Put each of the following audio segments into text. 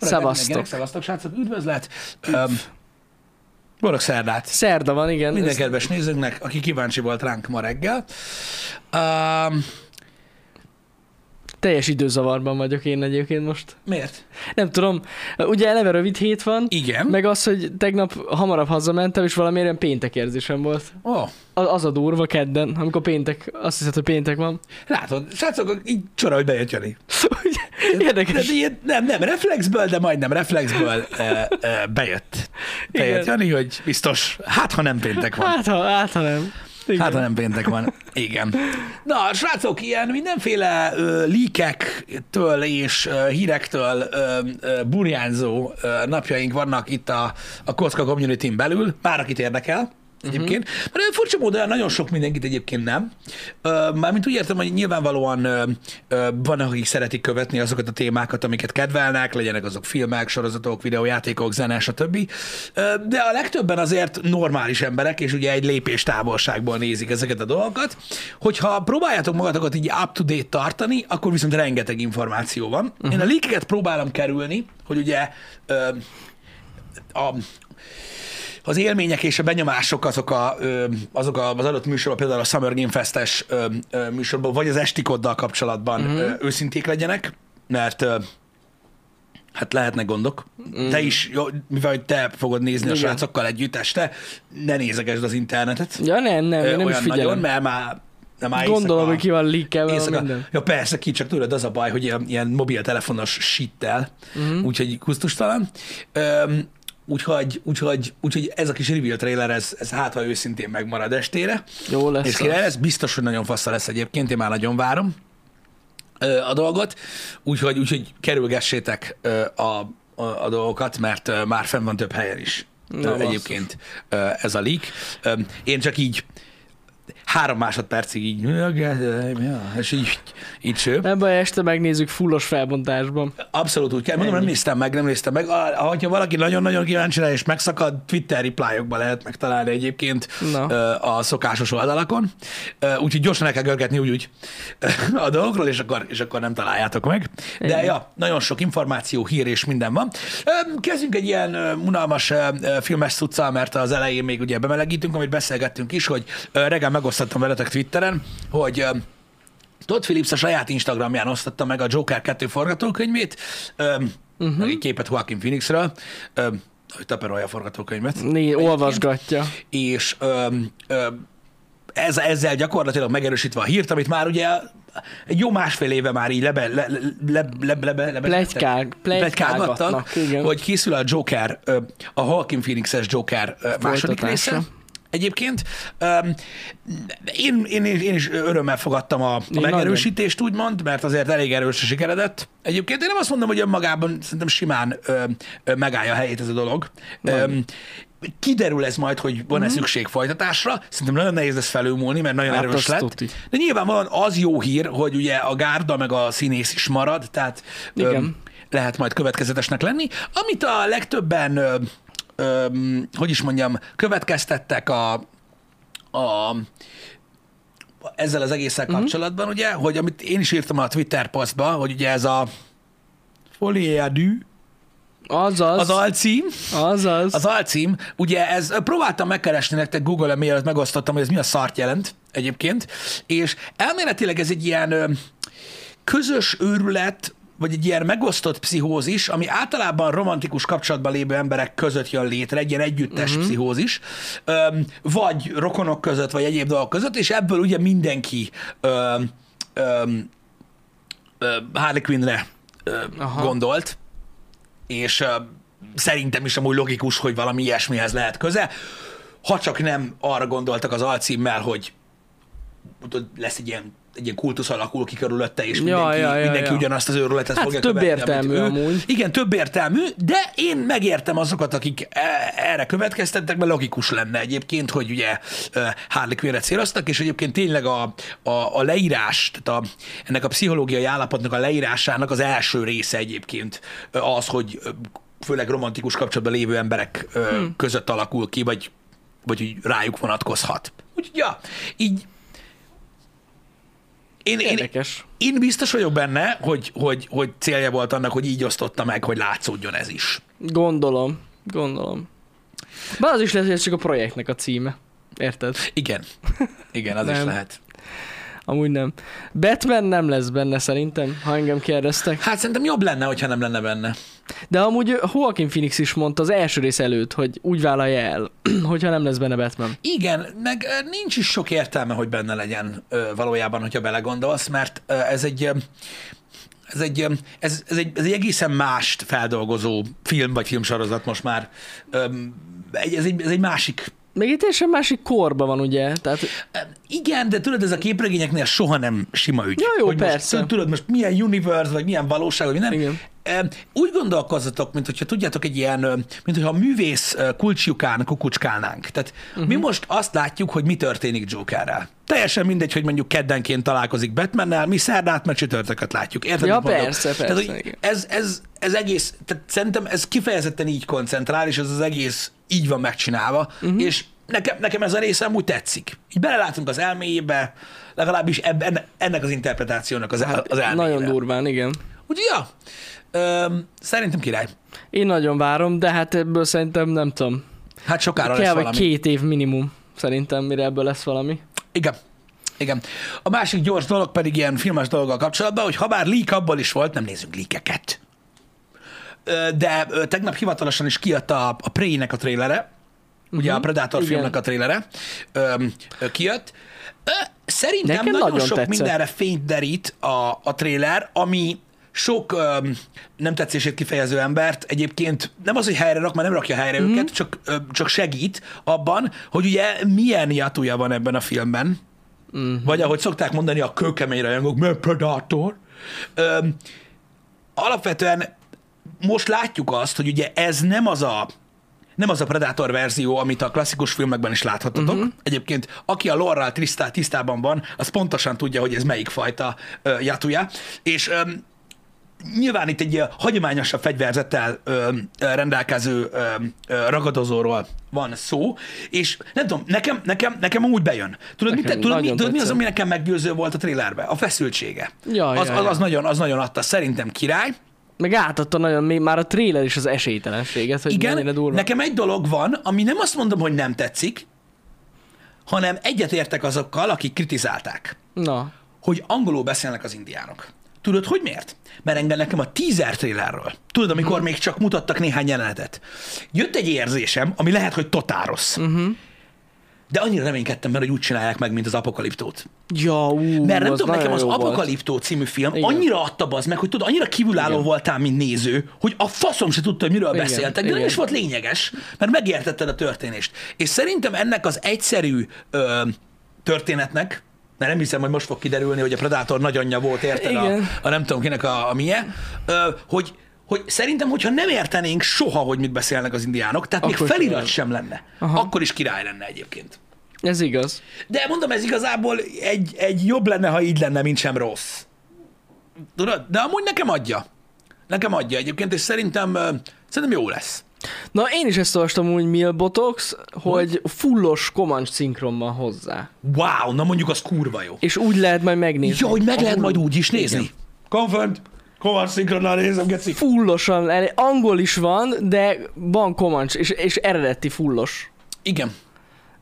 Szevasztok. Szevasztok, srácok, üdvözlet. Um, Borog szerdát. Szerda van, igen. Minden kedves nézőnknek, aki kíváncsi volt ránk ma reggel. Um, Teljes időzavarban vagyok én egyébként most. miért? Nem tudom, ugye eleve rövid hét van, Igen. meg az, hogy tegnap hamarabb hazamentem, és valamiért ilyen péntek érzésem volt. Ó, oh, Az, az a durva kedden, amikor péntek, azt hiszed, hogy péntek van. látod, srácok, így csora, hogy bejött Jani. Ugye, De Érdekes. ilyen, nem, nem reflexből, de majdnem reflexből e, e, bejött. Bejött Igen. Jani, hogy biztos, hát ha nem péntek van. Hát, ha, hát, ha nem. Igen. Hát, ha nem péntek van. Igen. Na, srácok, ilyen mindenféle ö, líkektől és ö, hírektől ö, ö, burjánzó ö, napjaink vannak itt a, a Kocka community belül, bár akit érdekel egyébként. Uh-huh. Mert olyan furcsa módon nagyon sok mindenkit egyébként nem. Ö, Mármint úgy értem, hogy nyilvánvalóan ö, ö, vannak, akik szeretik követni azokat a témákat, amiket kedvelnek, legyenek azok filmek, sorozatok, videójátékok, zene, stb. Ö, De a legtöbben azért normális emberek, és ugye egy lépés távolságból nézik ezeket a dolgokat. Hogyha próbáljátok magatokat így up-to-date tartani, akkor viszont rengeteg információ van. Uh-huh. Én a leakeket próbálom kerülni, hogy ugye ö, a, az élmények és a benyomások azok, a, ö, azok a, az adott műsorban, például a Summer Game Fest-es ö, ö, műsorban, vagy az esti koddal kapcsolatban Mhm. mm-hmm. ö, őszinték legyenek, mert ö, hát lehetnek gondok. Mm. Te is, jó, mivel hogy te fogod nézni Igen. a Mhm. Igen. srácokkal együtt este, ne nézegesd az internetet Ja nem, nem, ö, én nem is olyan nagyon, figyelem. mert már nem már Gondolom, éjszaka- hogy ki van leakelve meg Éjszaka. minden. Ja persze, ki csak tudod, az a baj, hogy ilyen, ilyen mobiltelefonos shittel, uh-huh. úgyhogy kusztustalan. Öm, úgyhogy, úgyhogy, úgyhogy ez a kis review trailer, ez, ez hát, ha őszintén megmarad estére. Jó lesz. És az. király lesz, biztos, hogy nagyon fassa lesz egyébként, én már nagyon várom ö, a dolgot, úgyhogy, úgyhogy kerülgessétek ö, a, a, a dolgokat, mert ö, már fenn van több helyen is Na, Na, basszus. egyébként ö, ez a leak. Ö, Én csak így három másodpercig így, és így, így cső. Nem baj, este megnézzük fullos felbontásban. Abszolút úgy kell. Mondom, nem néztem meg, nem néztem meg. Ah, Ha valaki nagyon-nagyon kíváncsi rá és megszakad, Twitter reply-okban lehet megtalálni egyébként Na. ö, a szokásos oldalakon. Ö, Úgyhogy gyorsan el kell görgetni úgy-úgy a dolgokról, és akkor, és akkor nem találjátok meg. De Igen. ja, nagyon sok információ, hír és minden van. Ö, Kezdjünk egy ilyen ö, unalmas ö, ö, filmes cuccal, mert az elején még ugye bemelegítünk, amit beszélgettünk is, hogy ö, reggel megosztottam veletek Twitteren, hogy ö, Todd Phillips a saját Instagramján osztotta meg a Joker 2 forgatókönyvét, öm, uh-huh. meg egy képet Joaquin Phoenixről, öm, hogy taperolja a forgatókönyvet, Né, olvasgatja. és öm, öm, ez, ezzel gyakorlatilag megerősítve a hírt, amit már ugye egy jó másfél éve már így lebe, le, le, le, le, le, le, le, Plegykál- plegykálgattak, plegykálgatnak, igen. hogy készül a Joker, ö, a Joaquin Phoenixes Joker ö, második Folytatása. része. Egyébként öm, én, én, én is örömmel fogadtam a, a Én megerősítést, úgymond, mert azért elég erősre sikeredett. Egyébként én nem azt mondom, hogy önmagában szerintem simán ö, ö, megállja a helyét ez a dolog. Öm, kiderül ez majd, hogy Mhm. van-e szükség folytatásra. Szerintem nagyon nehéz lesz felülmúlni, mert nagyon Hát erős azt lett. tuti. De nyilvánvalóan az jó hír, hogy ugye a gárda meg a színész is marad, tehát öm, Igen. lehet majd következetesnek lenni. Amit a legtöbben, ö, ö, hogy is mondjam, következtettek a, a ezzel az egészen kapcsolatban, ugye, hogy amit én is írtam a Twitter posztba, hogy ugye ez a foliádű, Azaz. az alcím, Azaz. az alcím, ugye ez, próbáltam megkeresni nektek Google-en, mielőtt megosztottam, hogy ez mi a szart jelent egyébként, és elméletileg ez egy ilyen ö, közös őrület, vagy egy ilyen megosztott pszichózis, ami általában romantikus kapcsolatban lévő emberek között jön létre, egy ilyen együttes uh-huh. pszichózis, öm, vagy rokonok között, vagy egyéb dolgok között, és ebből ugye mindenki öm, öm, öm, Harley Quinnre öm, Aha. gondolt, és ö, szerintem is amúgy logikus, hogy valami ilyesmihez lehet köze, ha csak nem arra gondoltak az alcímmel, hogy tudod, lesz egy ilyen, egy ilyen kultusz alakul ki körülötte, és Ja, mindenki, ja, ja, mindenki ja. ugyanazt az őrületet Hát fogja több követni, amit értelmű ő. amúgy. Igen, több értelmű, de én megértem azokat, akik e- erre következtettek, mert logikus lenne egyébként, hogy ugye e, Harley Quinnre céloztak, és egyébként tényleg a, a, a leírás, tehát a, ennek a pszichológiai állapotnak a leírásának az első része egyébként e, az, hogy e, főleg romantikus kapcsolatban lévő emberek e, Hm. között alakul ki, vagy, vagy hogy rájuk vonatkozhat. Úgyhogy ja, így Én, én, Érdekes. én biztos vagyok benne, hogy, hogy, hogy célja volt annak, hogy így osztotta meg, hogy látszódjon ez is. Gondolom, gondolom. Bár az is lehet, hogy ez csak a projektnek a címe. Érted? Igen. Igen, az is Nem. lehet. Amúgy nem. Batman nem lesz benne szerintem, ha engem kérdeztek. Hát szerintem jobb lenne, hogyha nem lenne benne. De amúgy Joaquin Phoenix is mondta az első rész előtt, hogy úgy vállalja el, hogyha nem lesz benne Batman. Igen, meg ö, nincs is sok értelme, hogy benne legyen ö, valójában, hogyha belegondolsz, mert ö, ez egy ö, ez egy, ö, ez, ez, egy, ez egy egészen mást feldolgozó film vagy filmsorozat most már. Öm, egy- Ez egy, ez egy másik. Még egy teljesen másik korban van, ugye? Tehát Ö, Igen, de tudod, ez a képregényeknél soha nem sima ügy. Ja, jó, hogy persze. Most, tudod, most milyen universe, vagy milyen valóság, vagy nem. Igen. Em, Úgy gondolkozzatok, mint hogyha tudjátok egy ilyen, ö, mint hogyha a művész ö, kulcsjukán kukucskálnánk. Tehát uh-huh. mi Mhm. most azt látjuk, hogy mi történik Jokerrel. Teljesen mindegy, hogy mondjuk keddenként találkozik Batmannel, mi szerdát, mert csütörtöket látjuk. Érted? Ja, mit mondok? persze, persze, Tehát, hogy igen. ez, ez, ez egész, tehát szerintem ez kifejezetten így koncentrál, és ez az egész így van megcsinálva, uh-huh. és nekem, nekem ez a része amúgy tetszik. Így belelátunk az elméjébe, legalábbis eb, enne- ennek az interpretációnak az, hát, az elméjébe. nagyon durván, igen. Ugye, ja. Öm, szerintem király. Én nagyon várom, de hát ebből szerintem nem tudom. Hát sokára Kell lesz vagy valami. két év minimum, szerintem, mire ebből lesz valami. Igen. Igen. A másik gyors dolog pedig ilyen filmes dologgal kapcsolatban, hogy ha bár leak abból is volt, nem nézünk leakeket. Ö, De ö, tegnap hivatalosan is kiadta a, a Prey-nek a trélere, ugye a Predator igen. filmnek a trélere öm, ö, kijött. Ö, Szerintem Nekem nagyon, nagyon sok tetszett. mindenre fényt derít a, a tréler, ami sok öm, nem tetszését kifejező embert egyébként nem az, hogy helyre rak, mert nem rakja helyre Mhm. mm-hmm. őket, csak, öm, csak segít abban, hogy ugye milyen jatúja van ebben a filmben, Mhm. mm-hmm. vagy ahogy szokták mondani a kőkemény rajongók, mert Predator. Öm, alapvetően most látjuk azt, hogy ugye ez nem az a nem az a Predator verzió, amit a klasszikus filmekben is láthattatok. Mhm. Uh-huh. Egyébként, aki a lorral tisztá, tisztában van, az pontosan tudja, hogy ez melyik fajta uh, jatuja. És um, nyilván itt egy ilyen hagyományosabb fegyverzettel um, rendelkező um, ragadozóról van szó, és nem tudom, nekem, nekem, nekem amúgy bejön. Nekem Tudod, nekem mi, te, tudod, mi, nagyon tudod mi az, tetszett. ami nekem meggyőző volt a trélerbe? A feszültsége. Ja, az, ja, az, ja. az, nagyon, az nagyon adta. Szerintem király. Meg átadta nagyon, még már a trailer is az esélytelenséget, hogy Igen, mennyire Igen, durva. nekem egy dolog van, ami nem azt mondom, hogy nem tetszik, hanem egyetértek azokkal, akik kritizálták, Na, hogy angolul beszélnek az indiánok. Tudod, hogy miért? Mert engem nekem a teaser trailerről, tudod, amikor Mhm. uh-huh. még csak mutattak néhány jelenetet, jött egy érzésem, ami lehet, hogy totál rossz. Mhm. Uh-huh. De annyira reménykedtem benne, hogy úgy csinálják meg, mint az apokaliptót. ja, ú, Mert nem az tudom, nekem nagyon az jó volt. Apokaliptó című film Igen. Igen. annyira adta az meg, hogy tudod, annyira kívülálló Igen. voltál, mint néző, hogy a faszom se tudta, hogy miről Igen, Igen. beszéltek, de igen. nem is volt lényeges, mert megértetted a történést. És szerintem ennek az egyszerű ö, történetnek, mert nem hiszem, hogy most fog kiderülni, hogy a Predator nagyanyja volt, érted? A, Igen. a nem tudom kinek a, a milyen, ö, hogy, hogy szerintem, hogyha nem értenénk soha, hogy mit beszélnek az indiánok, tehát Akkor még sem felirat lenne. sem lenne, Aha. akkor is király lenne egyébként. Ez igaz. De mondom, ez igazából egy, egy jobb lenne, ha így lenne, mint sem rossz. Tudod? De amúgy nekem adja. Nekem adja egyébként, és szerintem, ö, szerintem jó lesz. Na, én is ezt olvastam úgy Millbotox, hogy fullos komancs szinkron van hozzá. Wow, na mondjuk az kurva jó. És úgy lehet majd megnézni. Ja, hogy meg lehet Ahol- majd úgy is nézni. Confirmed. Kovács szinkronnal nézem, geci. Fullosan, el- angol is van, de van komancs, és, és eredeti fullos. Igen.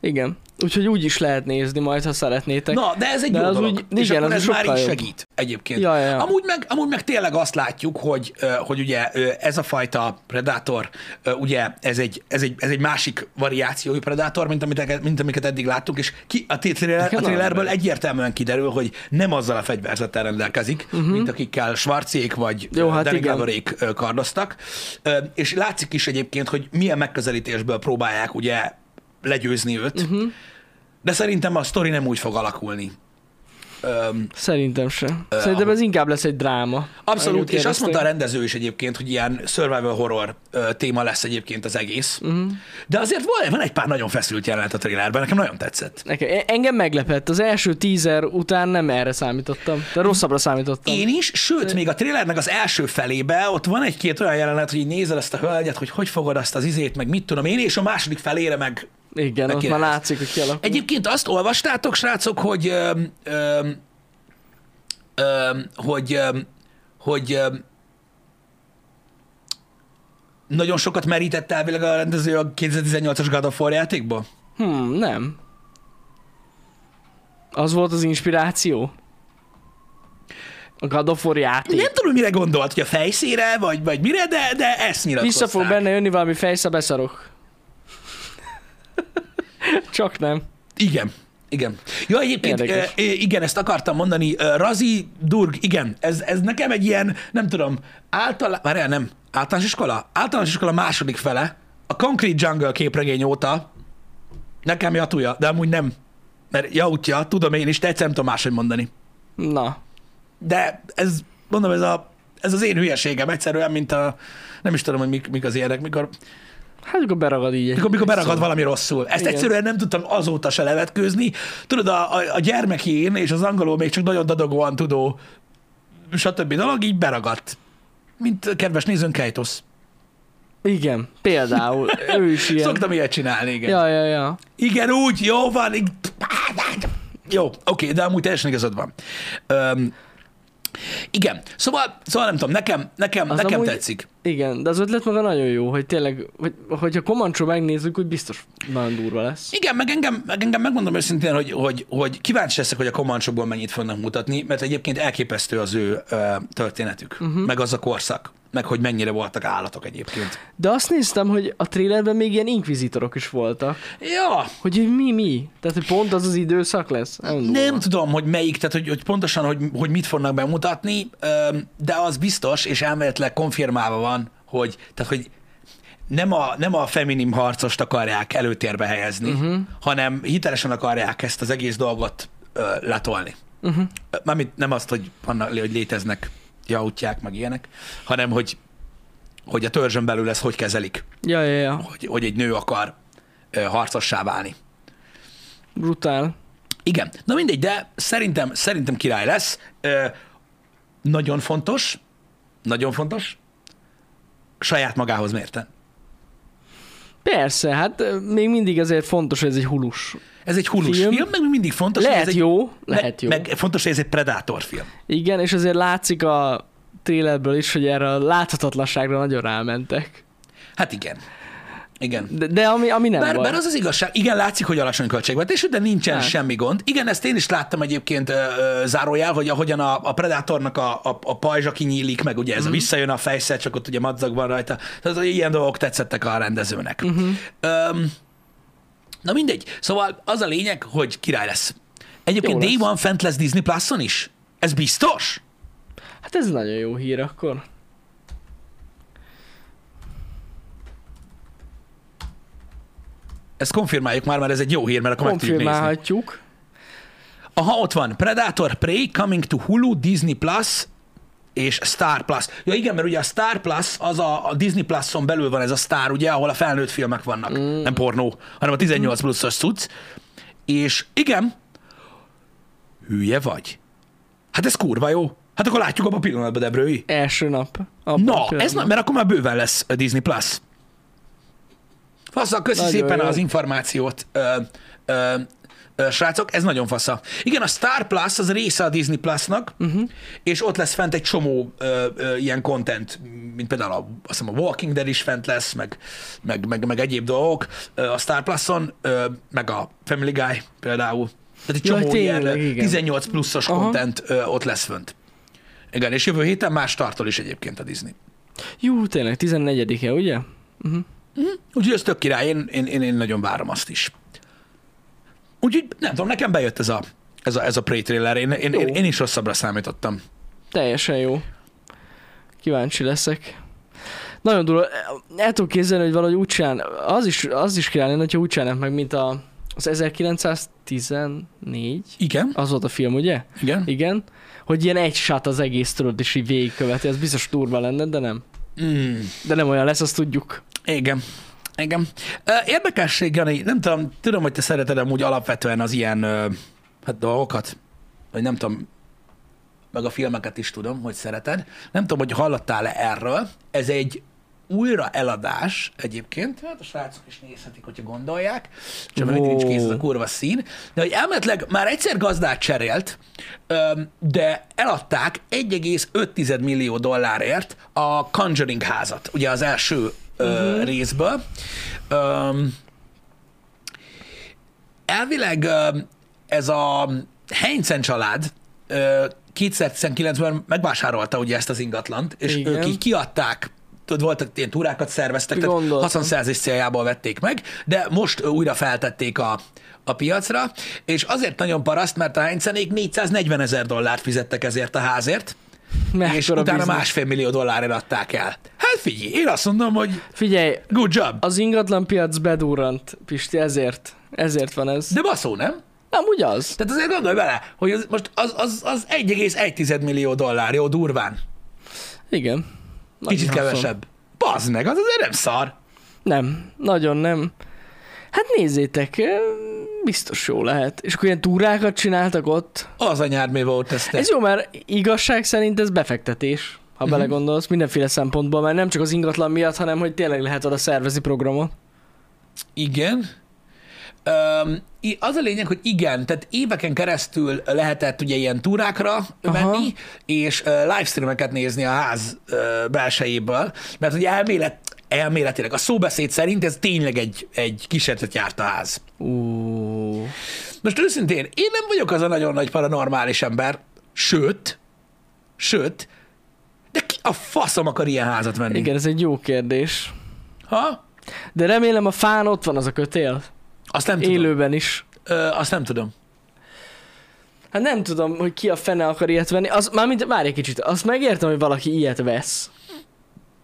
Igen. Úgyhogy úgy is lehet nézni majd, ha szeretnétek. Na, de ez egy De de jó az dolog. úgy- és igen, akkor az ez úgy már így sokkal jobb. segít egyébként. Ja, ja, ja. Amúgy, meg, amúgy meg tényleg azt látjuk, hogy ö, hogy ugye ö, ez a fajta predátor, ö, ugye ez egy, ez egy, ez egy másik variációi predátor, mint, amit, mint amiket eddig láttuk, és ki, a, t- thriller, a nagyon thrillerből bejött. egyértelműen kiderül, hogy nem azzal a fegyverzettel rendelkezik, Mhm. mint akikkel Schwarzék vagy Jó, hát Danny igen. Gloverék ö, kardoztak. Ö, És látszik is egyébként, hogy milyen megközelítésből próbálják ugye legyőzni őt. Mhm. Uh-huh. De szerintem a sztori nem úgy fog alakulni. Öm, Szerintem sem. Szerintem ez inkább lesz egy dráma. abszolút, Ahogy és azt mondta kérdezték. a rendező is egyébként, hogy ilyen survival horror ö, téma lesz egyébként az egész. Mhm. Uh-huh. De azért van, van egy pár nagyon feszült jelenet a trailerben, nekem nagyon tetszett. Nekem, e- engem meglepett. Az első tízer után nem erre számítottam. De rosszabbra számítottam. Én is, sőt, még a trailernek az első felébe ott van egy-két olyan jelenet, hogy így nézel ezt a hölgyet, hogy hogy fogod azt az izét, meg mit tudom én, és a második felére meg Igen, ott király már lesz. látszik, hogy kialakul. Egyébként azt olvastátok, srácok, hogy öm, öm, öm, hogy, öm, hogy öm, nagyon sokat merített elvileg a rendező a 2018-as God of War játékba? Hmm, nem. Az volt az inspiráció? A God of War játék. Nem tudom, mire gondolt, hogy a fejszére, vagy, vagy mire, de, de ezt nyilatkozták. Vissza fog benne jönni valami fejsze, beszarok. Csak nem. Igen. Igen. Ja, egyébként, Érdekes. ö, ö, igen, ezt akartam mondani. Ö, Razi Durg, igen, ez, ez nekem egy ilyen, nem tudom, általá... Várjál, nem. Általános iskola? Általános iskola második fele. A Concrete Jungle képregény óta nekem jatúja, de amúgy nem. Mert jautja, tudom én is, de egyszer nem tudom máshogy mondani. Na. De ez, mondom, ez, a, ez az én hülyeségem egyszerűen, mint a... Nem is tudom, hogy mik, mik az ilyenek, mikor Hát akkor beragad így. egy- mikor, mikor egy beragad szó. valami rosszul. Ezt Igen. egyszerűen nem tudtam azóta se levetkőzni. Tudod, a, a, a gyermeki én és az angolul még csak nagyon dadogóan tudó, stb. dolog így beragadt. Mint a kedves nézőnk Kejtosz. Igen, például. ő is ilyen. Szoktam ilyet csinálni, igen. Ja. Ja, ja, ja. Igen, úgy, jó van. így- Jó, oké, de amúgy teljesen igazad van. Öm, igen, szóval, szóval nem tudom, nekem, nekem, Az nekem amúgy- tetszik. Igen, de az ötlet maga nagyon jó, hogy tényleg, hogy, hogyha Comancho megnézzük, úgy biztos nagyon durva lesz. Igen, meg engem, meg engem megmondom őszintén, hogy, hogy, hogy kíváncsi leszek, hogy a komancsokból mennyit fognak mutatni, mert egyébként elképesztő az ő ö, történetük, uh-huh. meg az a korszak, meg hogy mennyire voltak állatok egyébként. De azt néztem, hogy a trailerben még ilyen inkvizitorok is voltak. Ja, Hogy így mi, mi? Tehát, hogy pont az az időszak lesz? Nem, nem durva. tudom, hogy melyik, tehát hogy, hogy pontosan, hogy, hogy mit fognak bemutatni, ö, de az biztos, és elméletileg konfirmálva van, hogy, tehát, hogy nem a, nem a feminim harcost akarják előtérbe helyezni, uh-huh. hanem hitelesen akarják ezt az egész dolgot ö, letolni. Uh-huh. Mármint nem azt, hogy, annak, hogy léteznek jautják, meg ilyenek, hanem hogy, hogy a törzsön belül ezt hogy kezelik, Ja, ja, ja. hogy, hogy egy nő akar ö, harcossá válni. Brutál. Igen. Na mindegy, de szerintem, szerintem király lesz. Ö, nagyon fontos, nagyon fontos, saját magához mérten. Persze, hát ö, még mindig azért fontos, hogy ez egy hulus. Ez egy hullus film, Film. film meg mindig fontos. hogy Lehet ez jó, egy, lehet jó. Meg fontos, hogy ez egy predátor film. Igen, és azért látszik a trailerből is, hogy erre a láthatatlanságra nagyon rámentek. Hát igen. Igen. De, de ami, ami nem Bár, baj. Hát. bár az az igazság, igen, látszik, hogy alacsony költségvetésű, de nincsen Nem. semmi gond. Igen, ezt én is láttam egyébként ö, ö, zárójel, hogy ahogyan a, a Predatornak a, a, a pajzsa kinyílik, meg ugye ez Mhm. mm. a visszajön a fejszer, csak ott ugye madzag van rajta. Tehát hogy ilyen dolgok tetszettek a rendezőnek. Mhm. Mm-hmm. Öm, na mindegy. Szóval az a lényeg, hogy király lesz. Egyébként Jó Day lesz. One fent lesz Disney Plus-on is? Ez biztos? Hát ez nagyon jó hír akkor. Ezt konfirmáljuk már, mert ez egy jó hír, mert akkor meg tudjuk nézni. Konfirmálhatjuk. Aha, ott van. Predator, Prey, Coming to Hulu, Disney Plus és Star Plus. Ja igen, mert ugye a Star Plus, az a, a Disney Plus-on belül van ez a Star, ugye, ahol a felnőtt filmek vannak. Mm. Nem pornó, hanem a 18 pluszos cucc. És igen, hülye vagy. Hát ez kurva jó. Hát akkor látjuk abban a pillanatban, Debrői. Első nap. Abban a Na, ez, pillanatban. na- mert akkor már bőven lesz a Disney Plus. Fasza, köszi Nagyon szépen jó. az információt, ö, ö, ö, srácok, ez nagyon fasza. Igen, a Star Plus az része a Disney Plusnak, Mhm. uh-huh. és ott lesz fent egy csomó ö, ö, ilyen content, mint például a, azt hiszem a Walking Dead is fent lesz, meg, meg, meg, meg egyéb dolgok ö, a Star Pluson, ö, meg a Family Guy például. Tehát egy Jaj, csomó ilyen tényleg, ö, igen. 18 pluszos Aha. content ö, ott lesz fönt. Igen, és jövő héten más tartol is egyébként a Disney. Jú, tényleg, 14-e, ugye? Úgyhogy ez tök király, én, én, én, én nagyon várom azt is. Úgyhogy nem tudom, nekem bejött ez a, ez a, ez a Prey trailer, én, én, Jó. én, én is rosszabbra számítottam. Teljesen jó. Kíváncsi leszek. Nagyon durva. El tudom képzelni, hogy valahogy úgy csinál, az is, az is király lenne, hogyha úgy csinálnak meg, mint a, az 1914. Igen, Az volt a film, ugye? igen. Igen. Hogy ilyen egy sát az egész tudod, és így végigköveti. Ez biztos durva lenne, de nem. Mm, De nem olyan lesz, azt tudjuk. igen. Igen. Ö, Érdekesség, Jani, nem tudom, tudom, hogy te szereted amúgy alapvetően az ilyen ö, hát dolgokat, vagy nem tudom, meg a filmeket is tudom, hogy szereted. Nem tudom, hogy hallottál-e erről. Ez egy újra eladás egyébként, hát a srácok is nézhetik, hogyha gondolják, csak wow. Wow. nincs kész ez a kurva szín, de hogy elméletileg már egyszer gazdát cserélt, öm, de eladták 1,5 millió dollárért a Conjuring házat, ugye az első uh-huh. részből. Öm, Elvileg ö, ez a Heinzen család ö, 2019-ben megvásárolta ugye ezt az ingatlant, és Igen. Igen. ők így kiadták, tudod, voltak ilyen túrákat szerveztek, tehát Gondoltam. haszonszerzés céljából vették meg, de most ö, újra feltették a, a piacra, és azért nagyon paraszt, mert a Heinzenék 440 ezer dollárt fizettek ezért a házért, Mekkora és utána biznisz. másfél millió dollárért adták el. Hát figyelj, én azt mondom, hogy Figyelj, good job. az ingatlan piac bedurrant, Pisti, ezért. Ezért van ez. De baszó, nem? Nem, úgy az. Tehát azért gondolj bele, hogy az, most az, az, az 1,1 millió dollár, jó, durván. Igen. Nagyon Kicsit haszon. kevesebb. Bazd meg, az azért nem szar. Nem, nagyon nem. Hát nézzétek, ö, biztos jó lehet. És akkor ilyen túrákat csináltak ott. Az anyád mi volt ezt. Ez jó, mert igazság szerint ez befektetés, ha Mhm. uh-huh. belegondolsz, mindenféle szempontból, mert nem csak az ingatlan miatt, hanem hogy tényleg lehet oda szervezni programot. Igen. Öm, i- az a lényeg, hogy igen, tehát éveken keresztül lehetett ugye ilyen túrákra Aha. menni, és ö, livestreameket nézni a ház ö, belsejéből, mert ugye elmélet, elméletileg, a szóbeszéd szerint ez tényleg egy, egy kísérletet járt a ház. Uh, Most őszintén, én nem vagyok az a nagyon nagy paranormális ember, sőt, sőt, de ki a faszom akar ilyen házat venni? igen, ez egy jó kérdés. Ha? De remélem a fán ott van az a kötél. Azt nem tudom. Élőben is. Ö, azt nem tudom. Hát nem tudom, hogy ki a fene akar ilyet venni. Az, mármint, várj egy kicsit, azt megértem, hogy valaki ilyet vesz.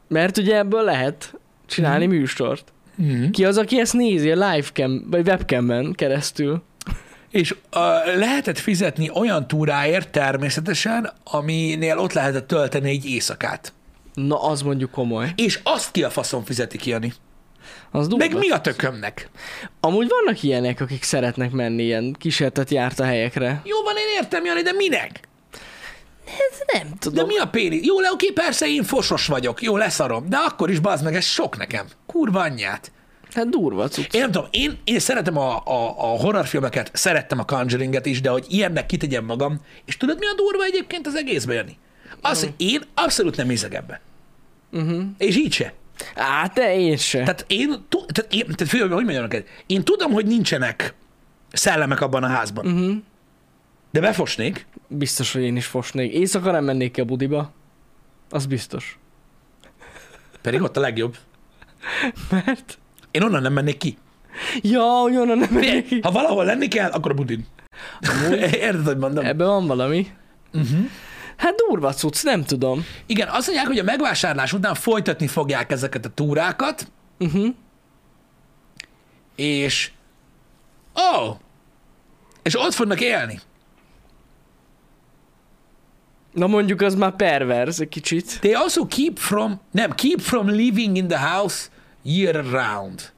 Mert ugye ebből lehet csinálni mm. műsort. Mm. Ki az, aki ezt nézi a livecam, vagy webcamen keresztül? És ö, lehetett fizetni olyan túráért természetesen, aminél ott lehetett tölteni egy éjszakát. Na, az mondjuk komoly. És azt ki a faszom fizeti ki, Jani? Az Meg durva. mi a tökömnek? Amúgy vannak ilyenek, akik szeretnek menni ilyen kísértet járta helyekre. Jó van, én értem, Jani, de minek? Nem De tudom. mi a péni? Jó, le, oké, persze én fosos vagyok, jó, leszarom, de akkor is bazd meg, ez sok nekem. Kurva anyját. Hát durva cucc. Én nem tudom, én, én szeretem a, a, a horrorfilmeket, szerettem a Conjuringet is, de hogy ilyennek kitegyem magam, és tudod mi a durva egyébként az egészben, Jani? Az, hogy én abszolút nem hiszek ebbe. Uh-huh. És így se. Á, te én se. Tehát én, tu- tehát én tehát főleg, hogy mondjam neked, én tudom, hogy nincsenek szellemek abban a házban. Uh-huh. De befosnék. Biztos, hogy én is fosnék. Éjszaka nem mennék ki a budiba. Az biztos. Pedig ott a legjobb. Mert? Én onnan nem mennék ki. Ja, hogy onnan nem mennék ki. Ha valahol lenni kell, akkor a budin. Érted, hogy mondom? Ebben van valami. Uh-huh. Mhm. Hát durva cucc, nem tudom. Igen, azt mondják, hogy a megvásárlás után folytatni fogják ezeket a túrákat, Uh-huh. és ó, oh, és ott fognak élni. Na mondjuk az már perverz egy kicsit. They also keep from, nem, keep from living in the house year round.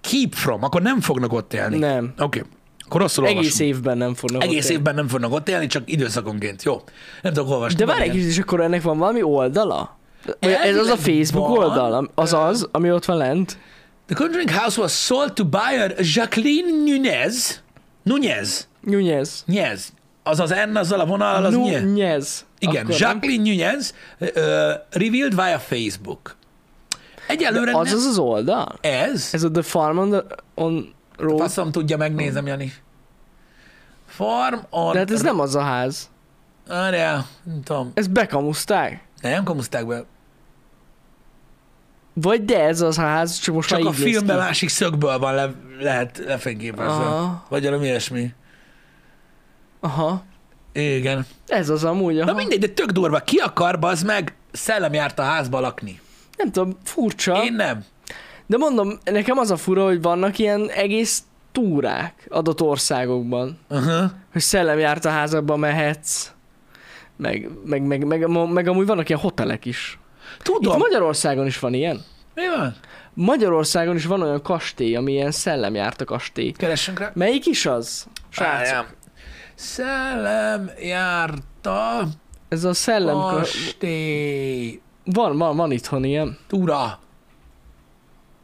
Keep from, akkor nem fognak ott élni. Nem. Oké, okay. akkor rosszul Egész olvasom. évben nem fognak Egész ott élni. évben nem fognak ott élni, csak időszakonként. Jó, nem tudok olvasni. De várj egy Igen. kicsit, és akkor ennek van valami oldala? Vagy ez az a Elvileg Facebook van, oldal? am- Az az, ami ott van lent? The Conjuring House was sold to buyer Jacqueline Nunez. Nunez. Nyújez. Nyez. Az az N, azzal a vonal, az Nye. Nyújez. Igen, Akkor nem. Jacqueline Nunez uh, revealed via Facebook. Egyelőre Az nem az az oldal? ez. Ez a The Farm on, the, on Road? Faszom tudja, megnézem, Jani. Farm on... De hát ez nem az a ház. Arja, nem tudom. Ezt bekamuszták? Nem kamuszták be. Vagy de ez az a ház, csak most Csak már a így néz filmben ki. másik szögből van le, lehet lefényképezve. Aha, Vagy valami ilyesmi. aha. Igen. Ez az amúgy, aha. Na mindegy, de tök durva. Ki akar, bazd meg, szellem járt a házba lakni. Nem tudom, furcsa. Én nem. De mondom, nekem az a fura, hogy vannak ilyen egész túrák adott országokban, Uh-huh. hogy szellemjárt a házakba mehetsz, meg, meg, meg, meg, meg amúgy vannak ilyen hotelek is. Itt Tudom. Magyarországon is van ilyen. Mi van? Magyarországon is van olyan kastély, ami ilyen szellemjárt a kastély. Keressünk rá. Melyik is az? Srácok, Várjám. Szellem járta ez a szellem... kastély. Van, van, van itthon ilyen. Túra.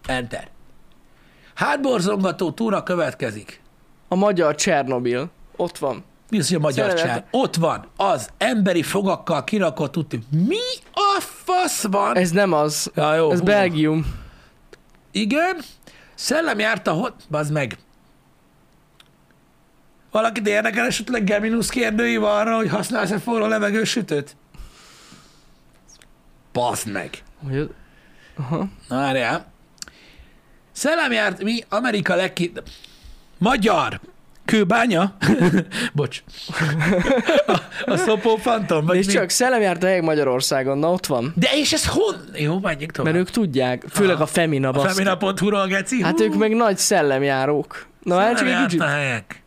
Enter. Hátborzongató túra következik. A magyar Csernobil. Ott van. Mi az, hogy a magyar Szeretem. csár? Ott van, az emberi fogakkal kirakott úti. Mi a fasz van? Ez nem az. ja, jó, Ez hú. Belgium. Igen. Szellem járt a hot... Bazd meg. Valakit érdekel esetleg Geminus kérdői arra, hogy használsz-e forró levegős sütőt? Bazd meg. Hogy az- Aha. Na, várjál. Szellem járt mi Amerika legki... Magyar. Kőbánya? Bocs. A, a szopó fantom, vagy És mi? csak szellemjárt a helyek Magyarországon, na ott van. De és ez hon... Jó, menjünk tovább. Mert ők tudják, főleg a Femina a baszki. femina.hu-ról, geci. Hát Hú. ők meg nagy szellemjárók. Na hát csak egy Szellem kicsit. járt a helyek.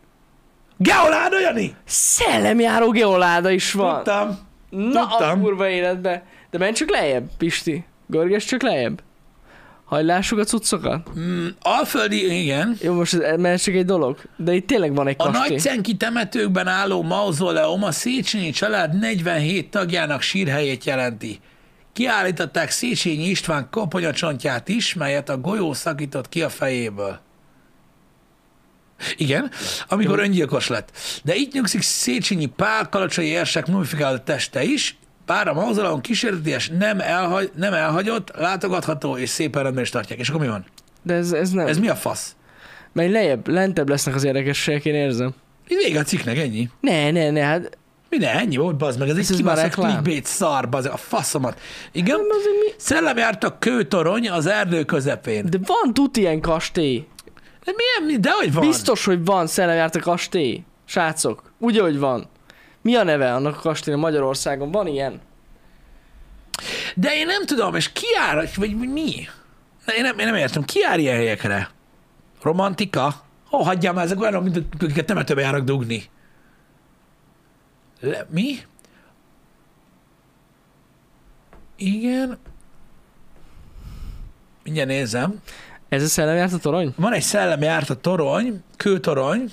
Geoládó, Jani! Szellemjáró geoláda is van. Tudtam. Na Tudtam. a kurva életbe. De menj csak lejjebb, Pisti. Görges csak lejjebb. Hajlássuk a cuccokat. Mm, Alföldi, igen. Jó, most ez, mert ez csak egy dolog. De itt tényleg van egy A kastély. nagycenki temetőkben álló mauzoleum a Széchenyi család 47 tagjának sírhelyét jelenti. Kiállították Széchenyi István koponyacsontját is, melyet a golyó szakított ki a fejéből. Igen, amikor öngyilkos lett. De itt nyugszik Széchenyi Pál kalacsai érsek mumifikált teste is, bár a mauzoleum kísérletes nem, elhagy, nem elhagyott, látogatható és szépen rendben is tartják. És akkor mi van? De ez, ez nem. Ez Ez... mi a fasz? Menj lejjebb, lentebb lesznek az érdekességek, én érzem. Itt vége a cikknek, ennyi. Ne, ne, ne, hát Minden, ennyi volt, bazd meg, ez, Ez egy az már kibaszott reklám. clickbait szar, bazd meg, a faszomat. Igen, Nem, azért mi- szellem járt a kőtorony az erdő közepén. de van tut ilyen kastély. De milyen, mi- dehogy van. Biztos, hogy van szellemjárt a kastély. Srácok, úgy, hogy van. Mi a neve annak a kastélynak Magyarországon? Van ilyen? De én nem tudom, és ki jár, vagy- vagy mi? De Én nem, én nem értem, ki jár ilyen helyekre? Romantika? Ó, oh, hagyjál már, ezek olyanok, mint akiket temetőbe járnak dugni. Le, mi? Igen. Mindjárt nézem. Ez a szellemjárt a torony? Van egy szellemjárt a torony, kőtorony,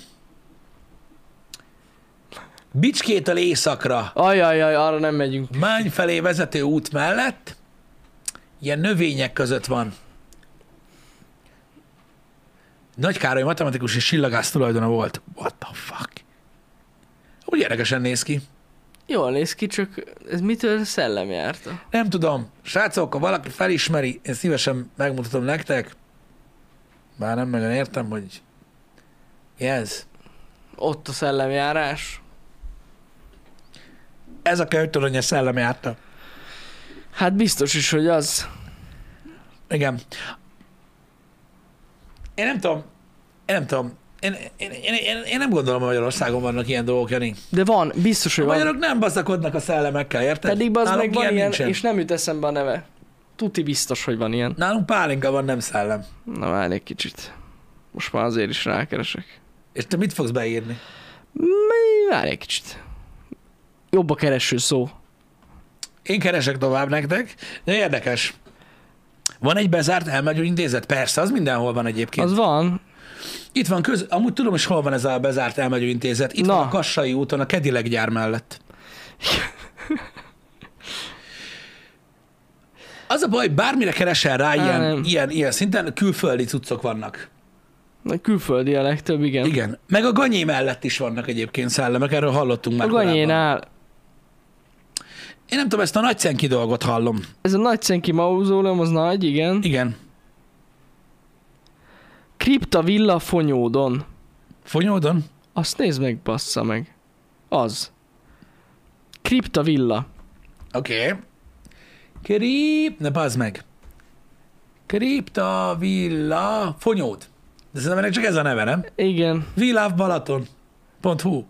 Bicskétől északra, Ajajaj, arra nem megyünk. Mány felé vezető út mellett, ilyen növények között van. Nagy Károly matematikus és csillagász tulajdona volt. What the fuck? Úgy érdekesen néz ki. Jól néz ki, csak ez mitől szellemjárta? Nem tudom. Srácok, ha valaki felismeri, én szívesen megmutatom nektek. Bár nem nagyon értem, hogy mi ez. Ott a szellemjárás. ez a könyvtorony a szellem járta. Hát biztos is, hogy az. Igen. Én nem tudom, én nem tudom, én, én, én, én, én nem gondolom, hogy Magyarországon vannak ilyen dolgok, Jani. De van, biztos, A hogy van. magyarok nem baszakodnak a szellemekkel, érted? Pedig az Nálunk meg van ilyen, nincsen. és nem jut eszembe a neve. Tuti biztos, hogy van ilyen. Nálunk pálinka van, nem szellem. Na várj egy kicsit. Most már azért is rákeresek. És te mit fogsz beírni? Mi- Várj egy kicsit. Jobb a kereső szó. Én keresek tovább nektek, de érdekes. Van egy bezárt elmegyőintézet? Persze, az mindenhol van egyébként. Az van. Itt van köz... Amúgy tudom is, hol van ez a bezárt elmegyőintézet. Itt Na. van a Kassai úton, a Kedileg gyár mellett. Az a baj, bármire keresel rá ilyen, nem. ilyen, ilyen szinten, külföldi cuccok vannak. Na, Külföldi a legtöbb, igen. igen Igen. Meg a ganyé mellett is vannak egyébként szellemek, erről hallottunk a már korábban. ganyénál. Én nem tudom, ezt a nagycenki dolgot hallom. Ez a nagy szenki mauzóleum, az nagy, igen. Igen. Kripta villa fonyódon. Fonyódon? Azt nézd meg, bassza meg. Az. Kripta villa. Oké. Okay. Krip... Ne, bazd meg. Kripta villa fonyód. De szerintem ennek csak ez a neve, nem? Igen. WeLoveBalaton.hu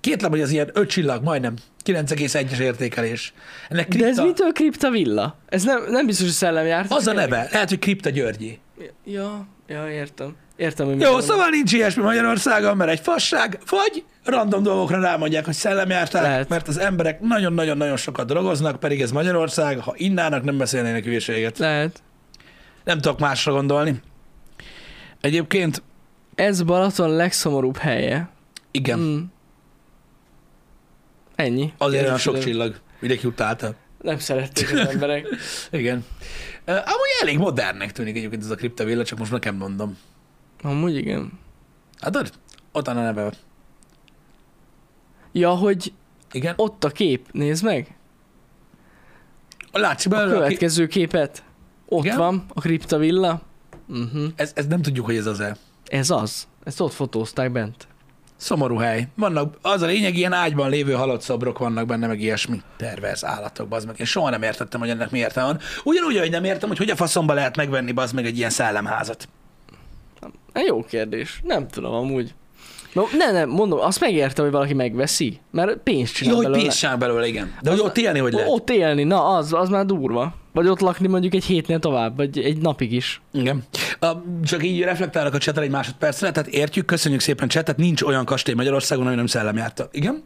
Kétlem, hogy az ilyen öt csillag, majdnem. 9,1-es értékelés. Ennek De kripta, ez mitől kripta villa? Ez nem, nem biztos, hogy szellemjárt. Az a neve. Lehet, hogy Kripta Györgyi. Ja, ja, értem. Értem, hogy mit Jó, mondod. szóval nincs ilyesmi Magyarországon, mert egy fasság, vagy random dolgokra rámondják, hogy szellemjárták, Lehet. mert az emberek nagyon-nagyon-nagyon sokat drogoznak, pedig ez Magyarország, ha innának, nem beszélnének hülyeséget. Lehet. Nem tudok másra gondolni. Egyébként, Ez Balaton legszomorúbb helye. igen, Mm. Ennyi. azért Én olyan is sok tudom. csillag. Mindenki utálta. Nem szerették az emberek. Igen. Ö, Amúgy elég modernnek tűnik egyébként ez a kriptavilla, csak most nekem mondom. Amúgy igen. Hát ott, ott van a neve. Ja, hogy Igen. ott a kép, nézd meg. Látsz A belőle, aki- következő képet. Ott Igen? van a kriptavilla. Uh-huh. ez, ez nem tudjuk, hogy ez az-e. Ez az. Ezt ott fotózták bent. Szomorú hely. Vannak, az a lényeg, ilyen ágyban lévő halott szobrok vannak benne, meg ilyesmi. Pervers állatok, bazd meg. Én soha nem értettem, hogy ennek mi értelme van. Ugyanúgy, hogy nem értem, hogy hogy a faszomba lehet megvenni, bazd meg egy ilyen szellemházat. Na, jó kérdés. Nem tudom amúgy. No, ne, nem, mondom, azt megértem, hogy valaki megveszi, mert pénzt csinál Jó, hogy belőle. pénz csinál belőle, igen. De hogy ott élni, hogy lehet. Ott élni, na az, az már durva. Vagy ott lakni mondjuk egy hétnél tovább, vagy egy napig is. Igen. A, csak így reflektálok a csetre egy másodpercre, tehát értjük, köszönjük szépen csetet, nincs olyan kastély Magyarországon, ami nem szellemjárta. Igen?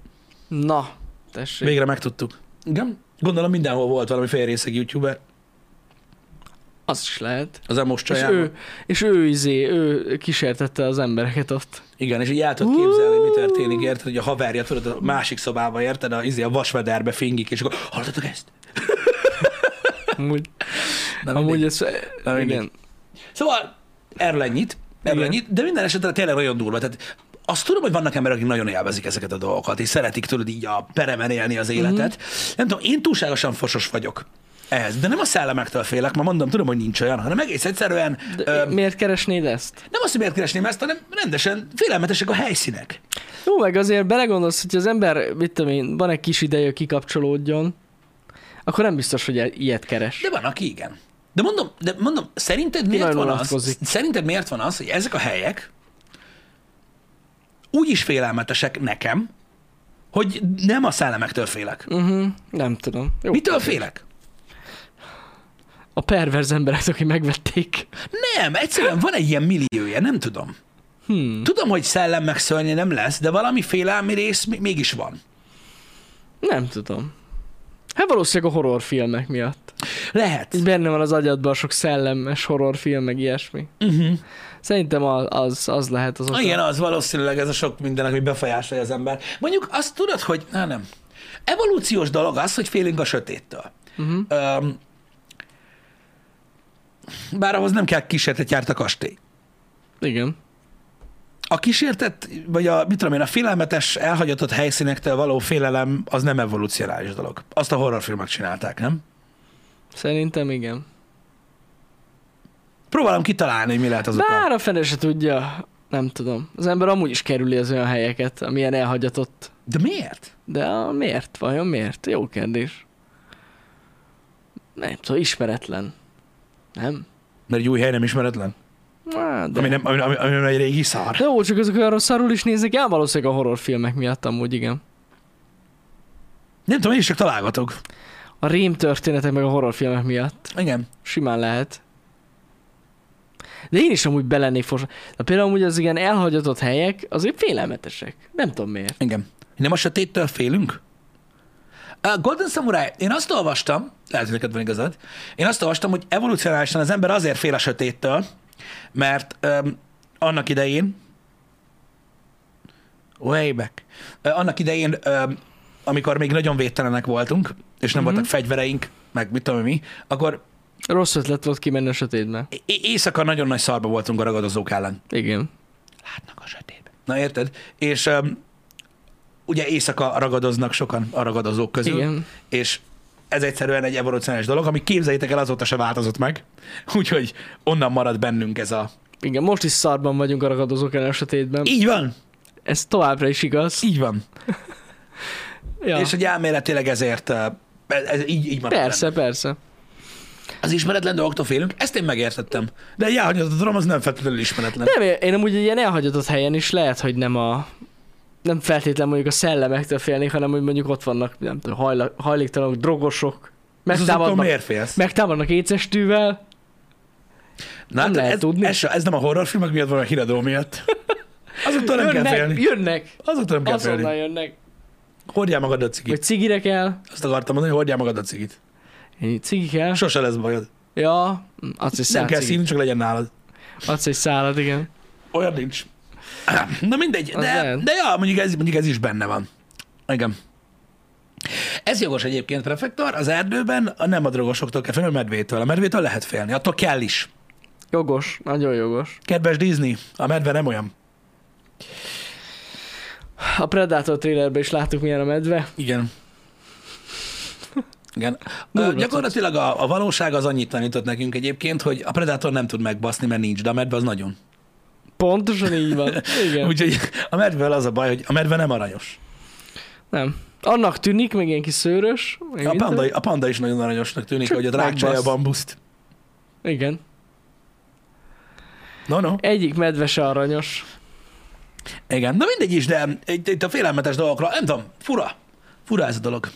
Na, tessék. Végre megtudtuk. Igen? Gondolom mindenhol volt valami félrészeg youtuber, Az is lehet. az most És csajában. ő, és ő izé, ő kísértette az embereket ott. Igen, és így el tudod képzelni, hogy mi történik, érted, hogy a haverja, tudod, a másik szobába, érted, a, izé, a vasvederbe fingik, és akkor hallottatok ezt? Amúgy, Na, amúgy mindegy. ez, Na, mindegy. igen. Szóval erről ennyit, erről Igen. ennyit, de minden esetre tényleg nagyon durva. Tehát azt tudom, hogy vannak emberek, akik nagyon élvezik ezeket a dolgokat, és szeretik tőled így a peremen élni Mhm. az életet. Mm-hmm. Nem tudom, én túlságosan fosos vagyok ehhez, de nem a szellemektől félek, ma mondom, tudom, hogy nincs olyan, hanem egész egyszerűen De ö, miért keresnéd ezt? nem azt, hogy miért keresném ezt, hanem rendesen félelmetesek a helyszínek. Jó, meg azért belegondolsz, hogy az ember, mit tudom én, van egy kis ideje, hogy kikapcsolódjon, akkor nem biztos, hogy i- ilyet keres. De van, aki igen. De mondom, de mondom szerinted, miért nagyon van az, unatkozik. szerinted miért van az, hogy ezek a helyek úgy is félelmetesek nekem, hogy nem a szellemektől félek. Uh-huh, nem tudom. Jó. Mitől félek? A perverz emberek, akik megvették. Nem, egyszerűen van egy ilyen milliója, nem tudom. Hmm. Tudom, hogy szellem meg szörnye nem lesz, de valami félelmi rész mi- mégis van. Nem tudom. Hát valószínűleg a horrorfilmek miatt. Lehet. Így benne van az agyadban sok szellemes horrorfilm, meg ilyesmi. Uh-huh. Szerintem a- az, az lehet az oka. Igen, az valószínűleg ez a sok mindenek, hogy befolyásolja az ember. Mondjuk azt tudod, hogy... Na, nem. Evolúciós dolog az, hogy félünk a sötéttől. Uh-huh. Öm, bár ahhoz nem kell kísértet járt a kastély. Igen. A kísértet, vagy a, mit tudom én, a félelmetes, elhagyatott helyszínektől való félelem, az nem evolucionális dolog. Azt a horrorfilmek csinálták, nem? Szerintem igen. Próbálom kitalálni, hogy mi lehet az oka. Bár a fene se tudja. Nem tudom. Az ember amúgy is kerüli az olyan helyeket, amilyen elhagyatott. De miért? De a miért? Vajon miért? Jó kérdés. Nem tudom, ismeretlen. Nem? Mert egy új hely nem ismeretlen. Na, de... Ami, nem, ami, ami, ami nem egy régi szar. De jó, csak azok olyan rosszarul is néznek el, valószínűleg a horrorfilmek miatt amúgy, igen. Nem tudom, én is csak találgatok. A rém történetek meg a horrorfilmek miatt. Igen. Simán lehet. De én is amúgy belennék fos... De például amúgy az igen elhagyatott helyek azért félelmetesek. Nem tudom miért. Igen. Nem a sötéttől félünk? A Golden Samurai, én azt olvastam, lehet, hogy neked van igazad, én azt olvastam, hogy evolucionálisan az ember azért fél a sötéttől, mert öm, annak idején, way back, ö, annak idején, öm, amikor még nagyon védtelenek voltunk, és nem Mhm. mm-hmm. voltak fegyvereink, meg mit tudom én mi, akkor Rossz ötlet volt kimenni a sötétbe. é- éjszaka nagyon nagy szarba voltunk a ragadozók ellen. Igen. Látnak a sötétben. Na érted? És um, ugye éjszaka ragadoznak sokan a ragadozók közül, Igen. és ez egyszerűen egy evolucionális dolog, ami képzeljétek el azóta se változott meg, úgyhogy onnan marad bennünk ez a... Igen, most is szarban vagyunk a ragadozók ellen a sötétben. Így van, Ez továbbra is igaz. így van. Ja. Ja. És hogy elméletileg ezért uh, ez, ez így, így marad Persze, persze. Bennünk. Az ismeretlen dolgoktól félünk, ezt én megértettem. De egy elhagyatott rom az nem feltétlenül ismeretlen. Nem, én- én amúgy egy ilyen elhagyatott helyen is lehet, hogy nem a nem feltétlenül mondjuk a szellemektől félnék, hanem hogy mondjuk ott vannak, nem tudom, hajla, hajléktalanok, drogosok, Ez az attól megtámadnak, miért félsz? megtámadnak écestűvel. Na, nem hát lehet ez, tudni. Ez, se- ez, nem a horrorfilmek miatt van, a híradó miatt. Azoktól nem kell Jönnek, félni. jönnek, Azoktól nem kell azonnal félni. jönnek. Hordjál magad a cigit. Hogy cigire kell, Azt akartam mondani, hogy hordjál magad a cigit. Ennyi, cigi kell. Sose lesz bajod. Ja, mm, adsz egy Nem szálat, kell cigit. szívni, csak legyen nálad. adsz egy szálat, igen. Olyan nincs. Na mindegy, Az de, lehet. de ja, mondjuk ez, mondjuk ez is benne van. Igen. Ez jogos egyébként, prefektor, az erdőben a nem a drogosoktól kell félni, a medvétől. A medvétől lehet félni, attól kell is. Jogos, nagyon jogos. Kedves Disney, a medve nem olyan. A Predator trailerben is láttuk, milyen a medve. Igen. Igen. Ö, Durva gyakorlatilag a, a valóság az annyit tanított nekünk egyébként, hogy a Predator nem tud megbaszni, mert nincs, de a medve az nagyon. Pontosan így van. Igen. Úgyhogy a medvel az a baj, hogy a medve nem aranyos. Nem. Annak tűnik, meg ilyen kis szőrös. meg A mit panda, tudom. a panda is nagyon aranyosnak tűnik, Csak hogy a rákcsálja a megbasz. bambuszt. Igen. No, no. Egyik medve se aranyos. Igen, na mindegy is, de itt, itt a félelmetes dolgokra, nem tudom, fura. Fura ez a dolog.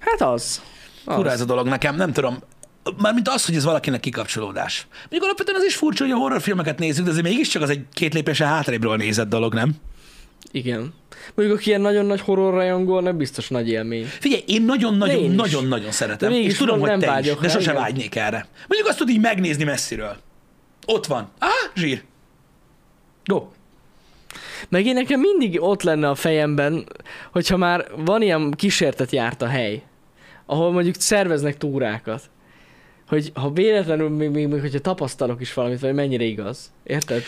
Hát az. az. Fura ez a dolog nekem, nem tudom. Mármint az, hogy ez valakinek kikapcsolódás. Még alapvetően az is furcsa, hogy a horrorfilmeket nézzük, de azért mégiscsak az egy két lépésen hátrébről nézett dolog, nem? Igen. Mondjuk, aki ilyen nagyon nagy horror rajongó, nem biztos nagy élmény. Figyelj, én Én is. nagyon-nagyon-nagyon-nagyon szeretem, De és mégis tudom, mond, hogy nem te is, vágyok de rá, sose igen. vágynék erre. Mondjuk azt tudod így megnézni messziről. Ott van. Aha, zsír. Go. Meg én nekem mindig ott lenne a fejemben, hogyha már van ilyen kísértet járt a hely, ahol mondjuk szerveznek túrákat, hogy ha véletlenül, még, még, még hogyha tapasztalok is valamit, vagy mennyire igaz. Érted?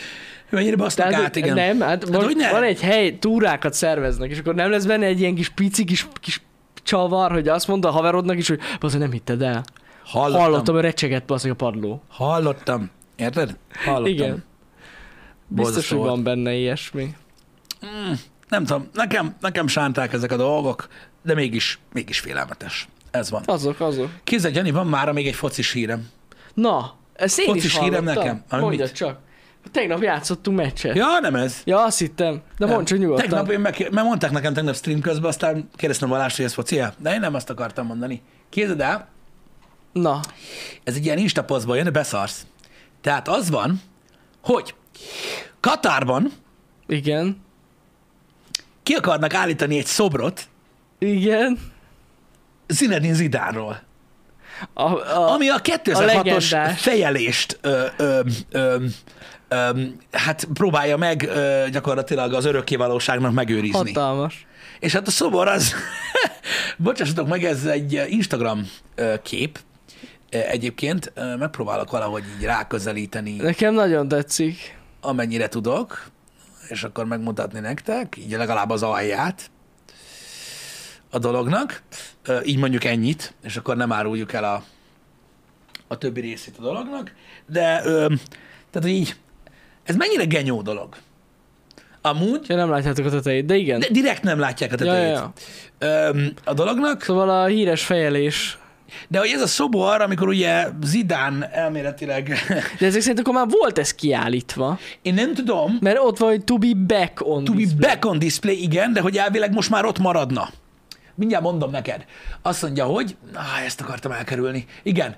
Mennyire basznak Tehát, át, hogy- igen. Nem, hát van, hogy ne? van egy hely, túrákat szerveznek, és akkor nem lesz benne egy ilyen kis pici kis, kis csavar, hogy azt mondta a haverodnak is, hogy bazen nem hitted el. Hallottam. Hallottam, Hallottam hogy recsegett bazen a padló. Hallottam. Érted? Hallottam. Igen. Biztos, Borzasztó hogy volt. van benne ilyesmi. Mm, nem tudom, nekem, nekem sánták ezek a dolgok, de mégis, mégis félelmetes. Ez van. Azok, azok. Kézzel, Jani, van mára még egy focis hírem. Na, ezt én Focis is hírem hallottam. nekem. Ami Mondjad mit? csak. Tegnap játszottunk meccset. Ja, Ja, nem ez. ja azt hittem. De mondd csak nyugodtan. Tegnap én meg, mert mondták nekem tegnap stream közben, aztán kérdeztem Balást, hogy ez foci -e? De én nem azt akartam mondani. Képzeld el, Na, ez egy ilyen Insta posztból jön, de beszarsz. Tehát az van, hogy Katárban igen. ki akarnak állítani egy szobrot Igen. Zinedine Zidánról, A, a, ami a a 2006-os legendás. fejelést ö, ö, ö, ö, hát próbálja meg ö, gyakorlatilag az örökké valóságnak megőrizni. hatalmas. És hát a szobor az, bocsássatok meg, ez egy Instagram ö, kép, Ö, egyébként ö, megpróbálok valahogy így ráközelíteni, Nekem nagyon tetszik. amennyire tudok, és akkor megmutatni nektek, így legalább az alját a dolognak, Ö, így mondjuk ennyit, és akkor nem áruljuk el a, a többi részét a dolognak, de ö, tehát így, ez mennyire genyó dolog. Amúgy, Ja, nem látjátok a tetejét, de igen. de direkt nem látják a ja, tetejét. ja, ja. Öm, a dolognak, Szóval a híres fejelés. de hogy ez a szobor, amikor ugye Zidán elméletileg, De ezek szerint akkor már volt ez kiállítva. én nem tudom, Mert ott van, hogy to be back on to be display. back on display, igen, de hogy elvileg most már ott maradna. Mindjárt mondom neked. Azt mondja, hogy, na, ezt akartam elkerülni. Igen.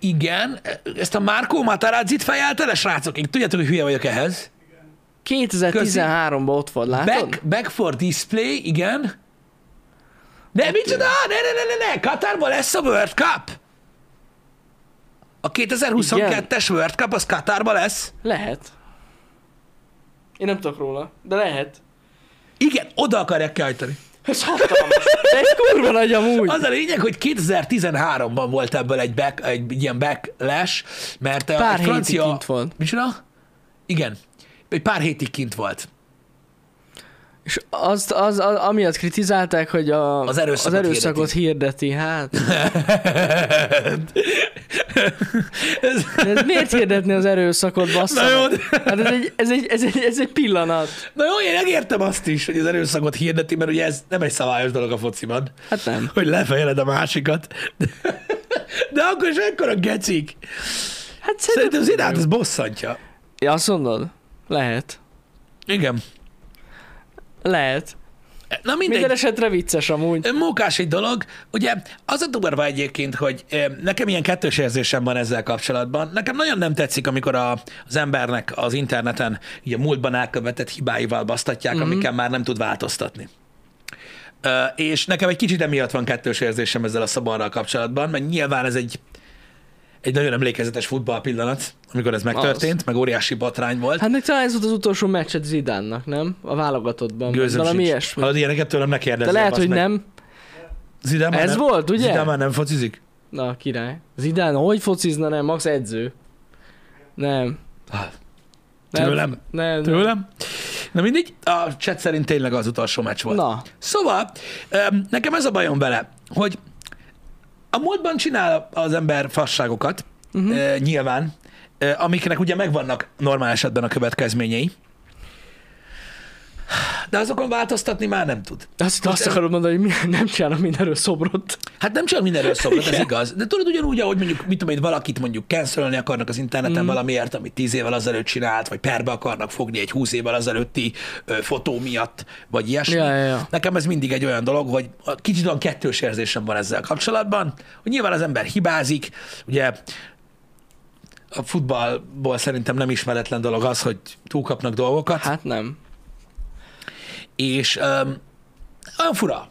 Igen, ezt a Márkó Matarazzi-t fejelte le, srácok? Én tudjátok, hogy hülye vagyok ehhez. 2013-ban ott volt, látod? Back, back for display, igen. De micsoda? Ne, ne, ne, ne, ne! Katárban lesz a World Cup! A 2022-es World Cup az Katárban lesz. Lehet. Én nem tudok róla, de lehet. Igen, oda akarják kiállítani. Ez hatalmas. De ez kurva nagy amúgy. Az a lényeg, hogy 2013-ban volt ebből egy, back, egy ilyen backlash, mert a- Pár egy hétig francia... kint volt. Micsoda? Igen. Egy pár hétig kint volt. És azt, az, az, amiatt kritizálták, hogy a, Az erőszakot az erőszakot hirdeti. Hát, Ez, de ez miért hirdetni az erőszakot, bassza? Na jó, meg? de- Hát ez egy, ez, egy, ez, egy, ez egy pillanat. na jó, én megértem azt is, hogy az erőszakot hirdeti, mert ugye ez nem egy szabályos dolog a fociban. Hát nem. hogy lefejeled a másikat. De, de akkor is ekkora gecik. Hát Szerintem nem Zidát jó. ez bosszantja. Ja, azt mondod? Lehet. Igen. Lehet. Na mindegy. Minden esetre vicces amúgy. Mókás egy dolog, ugye az a durva egyébként, hogy eh, nekem ilyen kettős érzésem van ezzel kapcsolatban. Nekem nagyon nem tetszik, amikor a, az embernek az interneten így a múltban elkövetett hibáival Mhm. basztatják, mm-hmm. amiken már nem tud változtatni. Ö, és nekem egy kicsit emiatt van kettős érzésem ezzel a szabarral kapcsolatban, mert nyilván ez egy egy nagyon emlékezetes futball pillanat, amikor ez megtörtént, az. meg óriási botrány volt. Hát meg talán ez volt az utolsó meccset Zidánnak, nem? A válogatottban. vagy Gőzöm Valami sincs. Hát, ilyesmi. Hallod, ilyeneket tőlem ne De kérdezzel. lehet, bassz hogy meg. nem. Zidán már Ez nem, volt, ugye? Zidán már nem focizik? Na, király. Zidán, hogy focizna, nem? Max edző. Nem. Ah, Nem. Tőlem? Nem. nem. Tőlem? Na mindegy, a chat szerint tényleg az utolsó meccs volt. Na, Szóval, öm, nekem ez a bajom vele, hogy a múltban csinál az ember fasságokat, uh-huh. nyilván, ö, amiknek ugye megvannak normál esetben a következményei, de azokon változtatni már nem tud. azt, azt akarod mondani, hogy mi- nem csinálom mindenről szobrot. Hát nem csak mindenről szobrat, ez igaz. De tudod, ugyanúgy, ahogy mondjuk, mit tudom én, valakit mondjuk cancelölni akarnak az interneten mm. valamiért, amit tíz évvel azelőtt csinált, vagy perbe akarnak fogni egy húsz évvel azelőtti ö, fotó miatt, vagy ilyesmi. Ja, ja, ja. Nekem ez mindig egy olyan dolog, hogy a- kicsit olyan kettős érzésem van ezzel kapcsolatban, hogy nyilván az ember hibázik, ugye a futballból szerintem nem ismeretlen dolog az, hogy túlkapnak dolgokat, hát. Hát nem. és öm, olyan fura.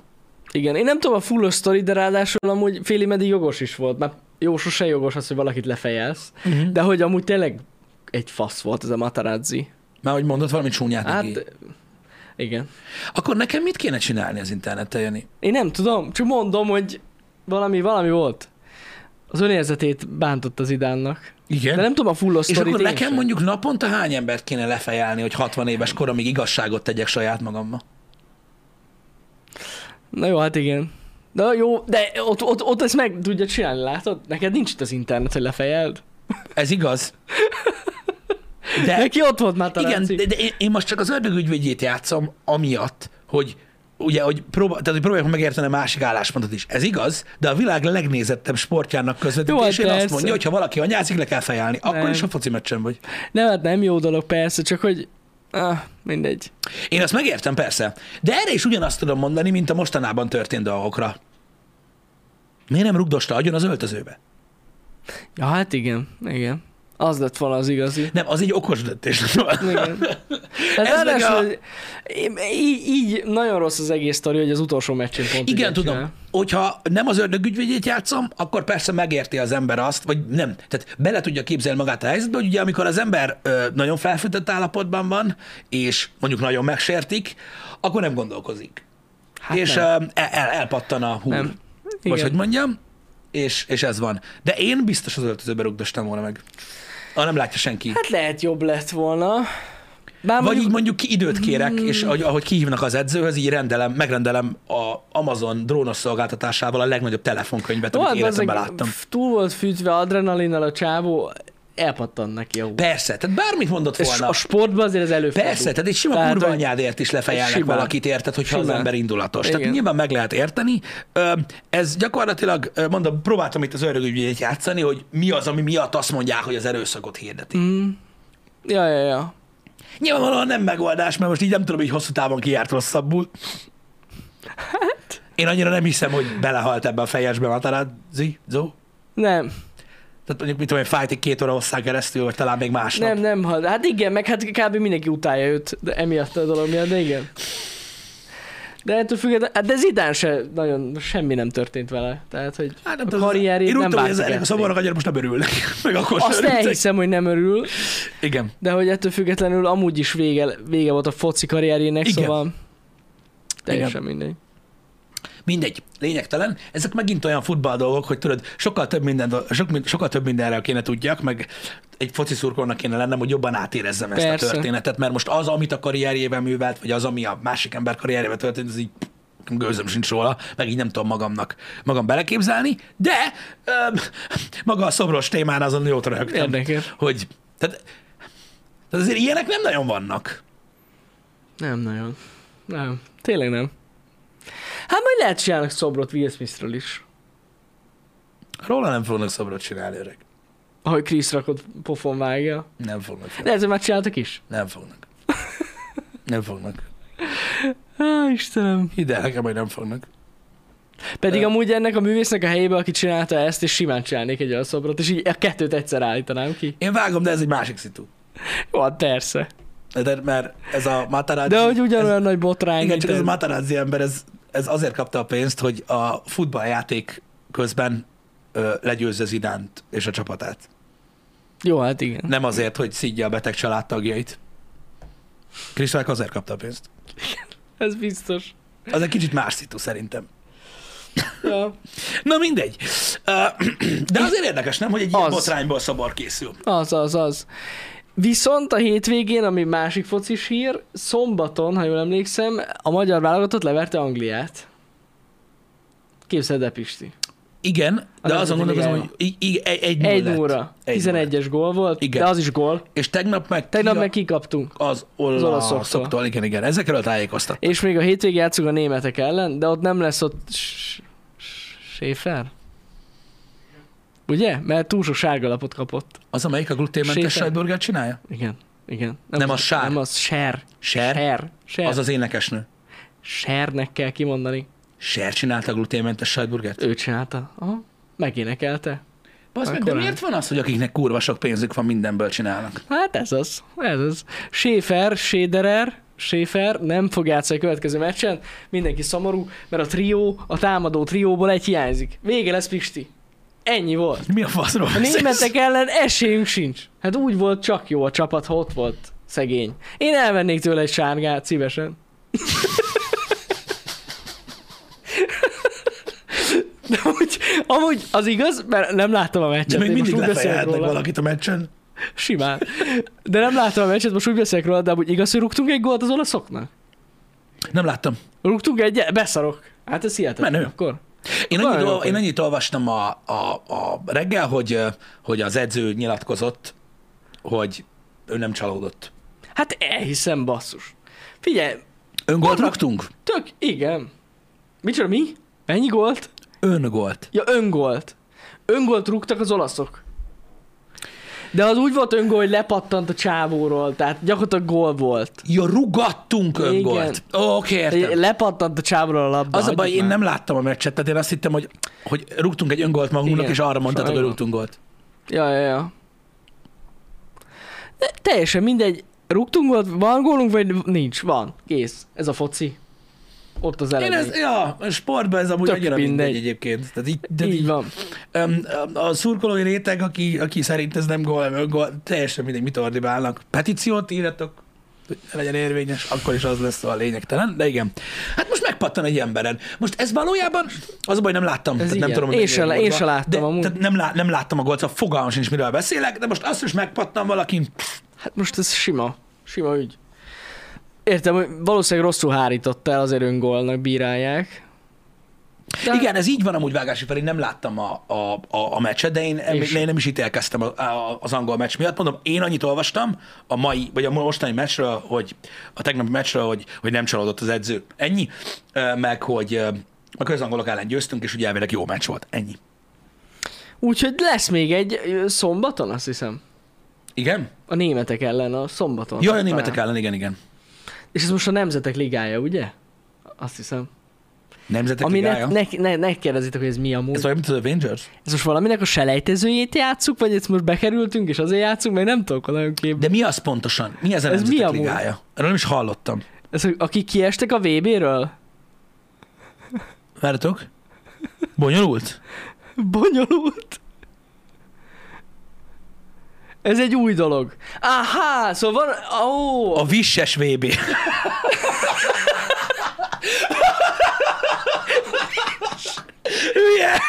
Igen, én nem tudom a full sztori, de ráadásul amúgy félig meddig jogos is volt. Már jó, sose jogos az, hogy valakit lefejelsz, Mhm. uh-huh. de hogy amúgy tényleg egy fasz volt ez a Matarazzi. Már hogy mondott valami csúnyát hát, neki. Hát, igen. Akkor nekem mit kéne csinálni az interneten, Jani? Én nem tudom, csak mondom, hogy valami, valami volt. Az önérzetét bántott az idánnak. Igen. De nem tudom a full és sztorit akkor én nekem sem. mondjuk naponta hány embert kéne lefejelni, hogy 60 éves koromig igazságot tegyek saját magammal? Na jó, hát igen. Na jó, de ott, ott, ott ezt meg tudja csinálni, látod? Neked nincs itt az internet, hogy lefejeld. Ez igaz. De, Neki ott volt már igen, talán de, de én- én most csak az ördög ügyvédjét játszom, amiatt, hogy ugye, hogy, próbál, tehát, hogy próbáljuk megérteni a másik álláspontot is. Ez igaz, de a világ legnézettebb sportjának közvetítésén Jó, hát azt persze. mondja, hogy ha valaki anyázik, le kell fejelni. Akkor Nem. is a foci meccsen vagy. Nem, hát nem jó dolog persze, csak hogy... Ah, mindegy. Én azt megértem, persze. De erre is ugyanazt tudom mondani, mint a mostanában történt dolgokra. Miért nem rugdosta agyon az öltözőbe? Ja, hát igen, igen. Az lett volna az igazi. Nem, az egy okos döntés. Igen. Ez Hát meg ráadásul, a- hogy így, így nagyon rossz az egész sztori, hogy az utolsó meccsén pont Igen, ugyan tudom. csinál. Hogyha nem az ördög ügyvédjét játszom, akkor persze megérti az ember azt, vagy nem. Tehát bele tudja képzelni magát a helyzetbe, hogy ugye amikor az ember ö, nagyon felfűtött állapotban van, és mondjuk nagyon megsértik, akkor nem gondolkozik. Hát Hát és nem. nem. El, el, elpattan a húr. Nem. Nem. Igen. Vagy hogy mondjam, és, és ez van. De én biztos az öltözőbe rugdostam volna meg. Ha nem látja senki. Hát, Hát lehet jobb lett volna. Bár Vagy mondjuk, Hmm. így mondjuk ki időt kérek, és ahogy, ahogy kihívnak az edzőhöz, így rendelem, megrendelem a Amazon drónos szolgáltatásával a legnagyobb telefonkönyvet, amit Tovább életemben bazzeg, láttam. f- Túl volt fűtve adrenalinnal a csávó, elpattan neki a hú. Persze, tehát bármit mondott És volna. a sportban azért ez előfordul. Persze, tehát egy sima Tehát, kurva hogy- anyádért is lefejelnek Simán. valakit, érted, hogyha Simán. az ember indulatos. Igen. Tehát nyilván meg lehet érteni. Ö, Ez gyakorlatilag, ö, mondom, próbáltam itt az örökügyét játszani, hogy mi az, ami miatt azt mondják, hogy az erőszakot hirdeti. Mm. Ja, ja, ja. Nyilvánvalóan nem megoldás, mert most így nem tudom, hogy hosszú távon ki járt rosszabbul. Hát? Én annyira nem hiszem, hogy belehalt ebbe a fejesbe Matarazzi, Zó. Nem, Tehát mondjuk, mit tudom én, fájt egy két óra hosszán keresztül, vagy talán még másnap. nem, nem, ha- hát igen, meg hát kb. mindenki utálja őt, de emiatt a dolog miatt, de igen. De ettől függetlenül, hát de Zidán se nagyon, semmi nem történt vele. Tehát, hogy Hát nem a tudom, karrierét Én úgy nem tudom, hogy ez váltogatni. ennek a szobornak annyira most nem örülnek. Meg akkor sem Azt örültek. elhiszem, hogy nem örül, Igen. de hogy ettől függetlenül amúgy is vége, vége volt a foci karrierjének, Igen. szóval teljesen mindegy. Mindegy, lényegtelen. Ezek megint olyan futball dolgok, hogy tudod, sokkal több, minden, do- sok, min- sokkal több mindenről kéne tudjak, meg egy foci szurkolónak kéne lennem, hogy jobban átérezzem Persze. ezt Persze. a történetet, mert most az, amit a karrierjével művelt, vagy az, ami a másik ember karrierjével történt, az így nekem gőzöm sincs róla, meg így nem tudom magamnak magam beleképzelni, de öm, maga a szobros témán azon jót röhögtem, Érdekes. hogy tehát, tehát azért ilyenek nem nagyon vannak. Nem nagyon. Nem. Tényleg nem. Hát majd lehet csinálnak szobrot Will Smithről is. Róla nem fognak szobrot csinálni, öreg. Ahogy Chris rakott pofon vágja. Nem fognak. Fel. Lehet, hogy már csináltak is. Nem fognak. Nem fognak. Á, Istenem. Hidd el nekem, hogy nem fognak. Pedig Ö. amúgy ennek a művésznek a helyébe, aki csinálta ezt, és simán csinálnék egy olyan szobrot, és így a kettőt egyszer állítanám ki. Én vágom, de ez egy másik szitu. Jó, hát persze. De, mert ez a Matarazzi... De hogy ugyanolyan nagy botrány, Ez, igen, mint csak ez a ez. Matarazzi ember, ez, ez azért kapta a pénzt, hogy a futballjáték közben ö, legyőzze Zidánt és a csapatát. Jó, hát igen. Nem azért, hogy szidja a beteg családtagjait. Krisztálk azért kapta a pénzt. Ez biztos. Az egy kicsit más szitu szerintem. Ja. Na mindegy. Ö, De azért érdekes, nem, hogy egy ilyen Az. botrányból szabar készül. Az, az, az. Viszont a hétvégén, ami másik focis hír, szombaton, ha jól emlékszem, a magyar válogatott leverte Angliát. Képzeld el, Pisti. Igen, de Az azon Nemzeti gondolkozom, Ligája. hogy i- i- egy, egy, null Egy lett. óra. Egy 11-es gól volt, Igen. de az is gól. És tegnap meg... Tegnap ki a- meg kikaptunk. az Az olaszoktól. olaszoktól. Igen, igen, ezekről tájékoztat. És még a hétvégén játszunk a németek ellen, de ott nem lesz ott S- S- Schäfer. Ugye? Mert túl sok sárga lapot kapott. Az, amelyik a gluténmentes Séfer. sajtburgert csinálja? Igen. Igen. Nem az sár. Nem az ser. Ser? Ser. Ser. Az az énekesnő. Sernek kell kimondani. Ser csinálta a gluténmentes sajtburgert? Ő csinálta. Aha. Megénekelte. Basz meg, de Akkor nem. miért van az, hogy akiknek kurva sok pénzük van, mindenből csinálnak? Hát ez az. Ez az. Schäfer, Schederer, Schäfer nem fog játszani a következő meccsen. Mindenki szomorú, mert a trió, a támadó trióból egy hiányzik. Vége lesz Pisti. Ennyi volt. Mi a faszról A beszélsz? németek ellen esélyünk sincs. Hát úgy volt csak jó a csapat, ha ott volt szegény. Én elvennék tőle egy sárgát szívesen. De amúgy, amúgy az igaz, mert nem láttam a meccset. De még én most mindig úgy beszélek lefejelhetnek róla. valakit a meccsen. Simán. De nem láttam a meccset, most úgy beszélek róla, de amúgy igaz, hogy rúgtunk egy gólt az olaszoknak? Nem láttam. Rúgtunk egy, beszarok. Hát ez hihetetlen. Menő. Akkor. Én Nagyon annyit, jó ol, vagy. én annyit olvastam a, a, a reggel, hogy, ö, hogy az edző nyilatkozott, hogy ő nem csalódott. Hát elhiszem, basszus. Figyelj, Öngolt raktunk? tök, igen. Micsoda, mi? Mennyi gólt? Öngolt. Ja, öngolt. Öngolt rúgtak az olaszok. De az úgy volt öngól, hogy lepattant a csávóról, tehát gyakorlatilag gól volt. Ja, rugattunk Igen. öngolt. Ó, Oké, értem. Lepattant a csávóról a labda. Az a baj, hagyjuk én már. nem láttam a meccset, tehát én azt hittem, hogy, hogy rúgtunk egy öngolt magunknak, Igen, és arra mondtátok, hogy sajnos. rúgtunk gólt. Ja, ja, ja. De teljesen mindegy, rúgtunk volt, van gólunk, vagy nincs? Van, kész. Ez a foci. Ott az Én elemi. ez, ja, a sportban ez amúgy Tök annyira mindegy. mindegy. egyébként. Tehát így, de Így így, van. öm, öm, a szurkolói réteg, aki, aki szerint ez nem gól, nem öngól, teljesen mindegy, mit ordibálnak. Petíciót írjatok, hogy ne legyen érvényes, akkor is az lesz a lényegtelen, de igen. Hát most megpattan egy emberen. Most ez valójában, az a baj, nem láttam. tehát nem igen. tudom, hogy Én mennyire se- volt én van. se láttam de, amúgy. Tehát nem, lá, nem, láttam a gólt, szóval fogalmam sincs, miről beszélek, de most azt is megpattan valakin. Hát most ez sima. Sima ügy. Értem, hogy valószínűleg rosszul hárított el, azért öngólnak bírálják. De... Igen, ez így van amúgy vágási felé, nem láttam a, a, a, a meccset, de én, És- én nem is ítélkeztem a, a, az angol meccs miatt. Mondom, én annyit olvastam a mai, vagy a mostani meccsről, hogy a tegnapi meccsről, hogy, hogy nem csalódott az edző. Ennyi, Ö, meg hogy ö, a közangolok ellen győztünk, és ugye elvileg jó meccs volt. Ennyi. Úgyhogy lesz még egy ö, szombaton, azt hiszem. Igen? A németek ellen a szombaton. Jaj, a Talán. németek ellen, igen, igen. És ez most a Nemzetek Ligája, ugye? Azt hiszem. Nemzetek Ami ligája. ne, ne, ne, ne kérdezitek, hogy ez mi amúgy. Ez olyan, mint az Avengers? Ez most valaminek a selejtezőjét játszuk, vagy ezt most bekerültünk, és azért játszunk, mert nem tudok a nagyon képbe. De mi az pontosan? Mi ez a Ez mi Nemzetek amúgy? ligája? Erről nem is hallottam. Ez, hogy akik kiestek a VB-ről? Várjatok? Bonyolult? Bonyolult. Ez egy új dolog. Áhá, szóval van... Ó, A visses VB. Hülye!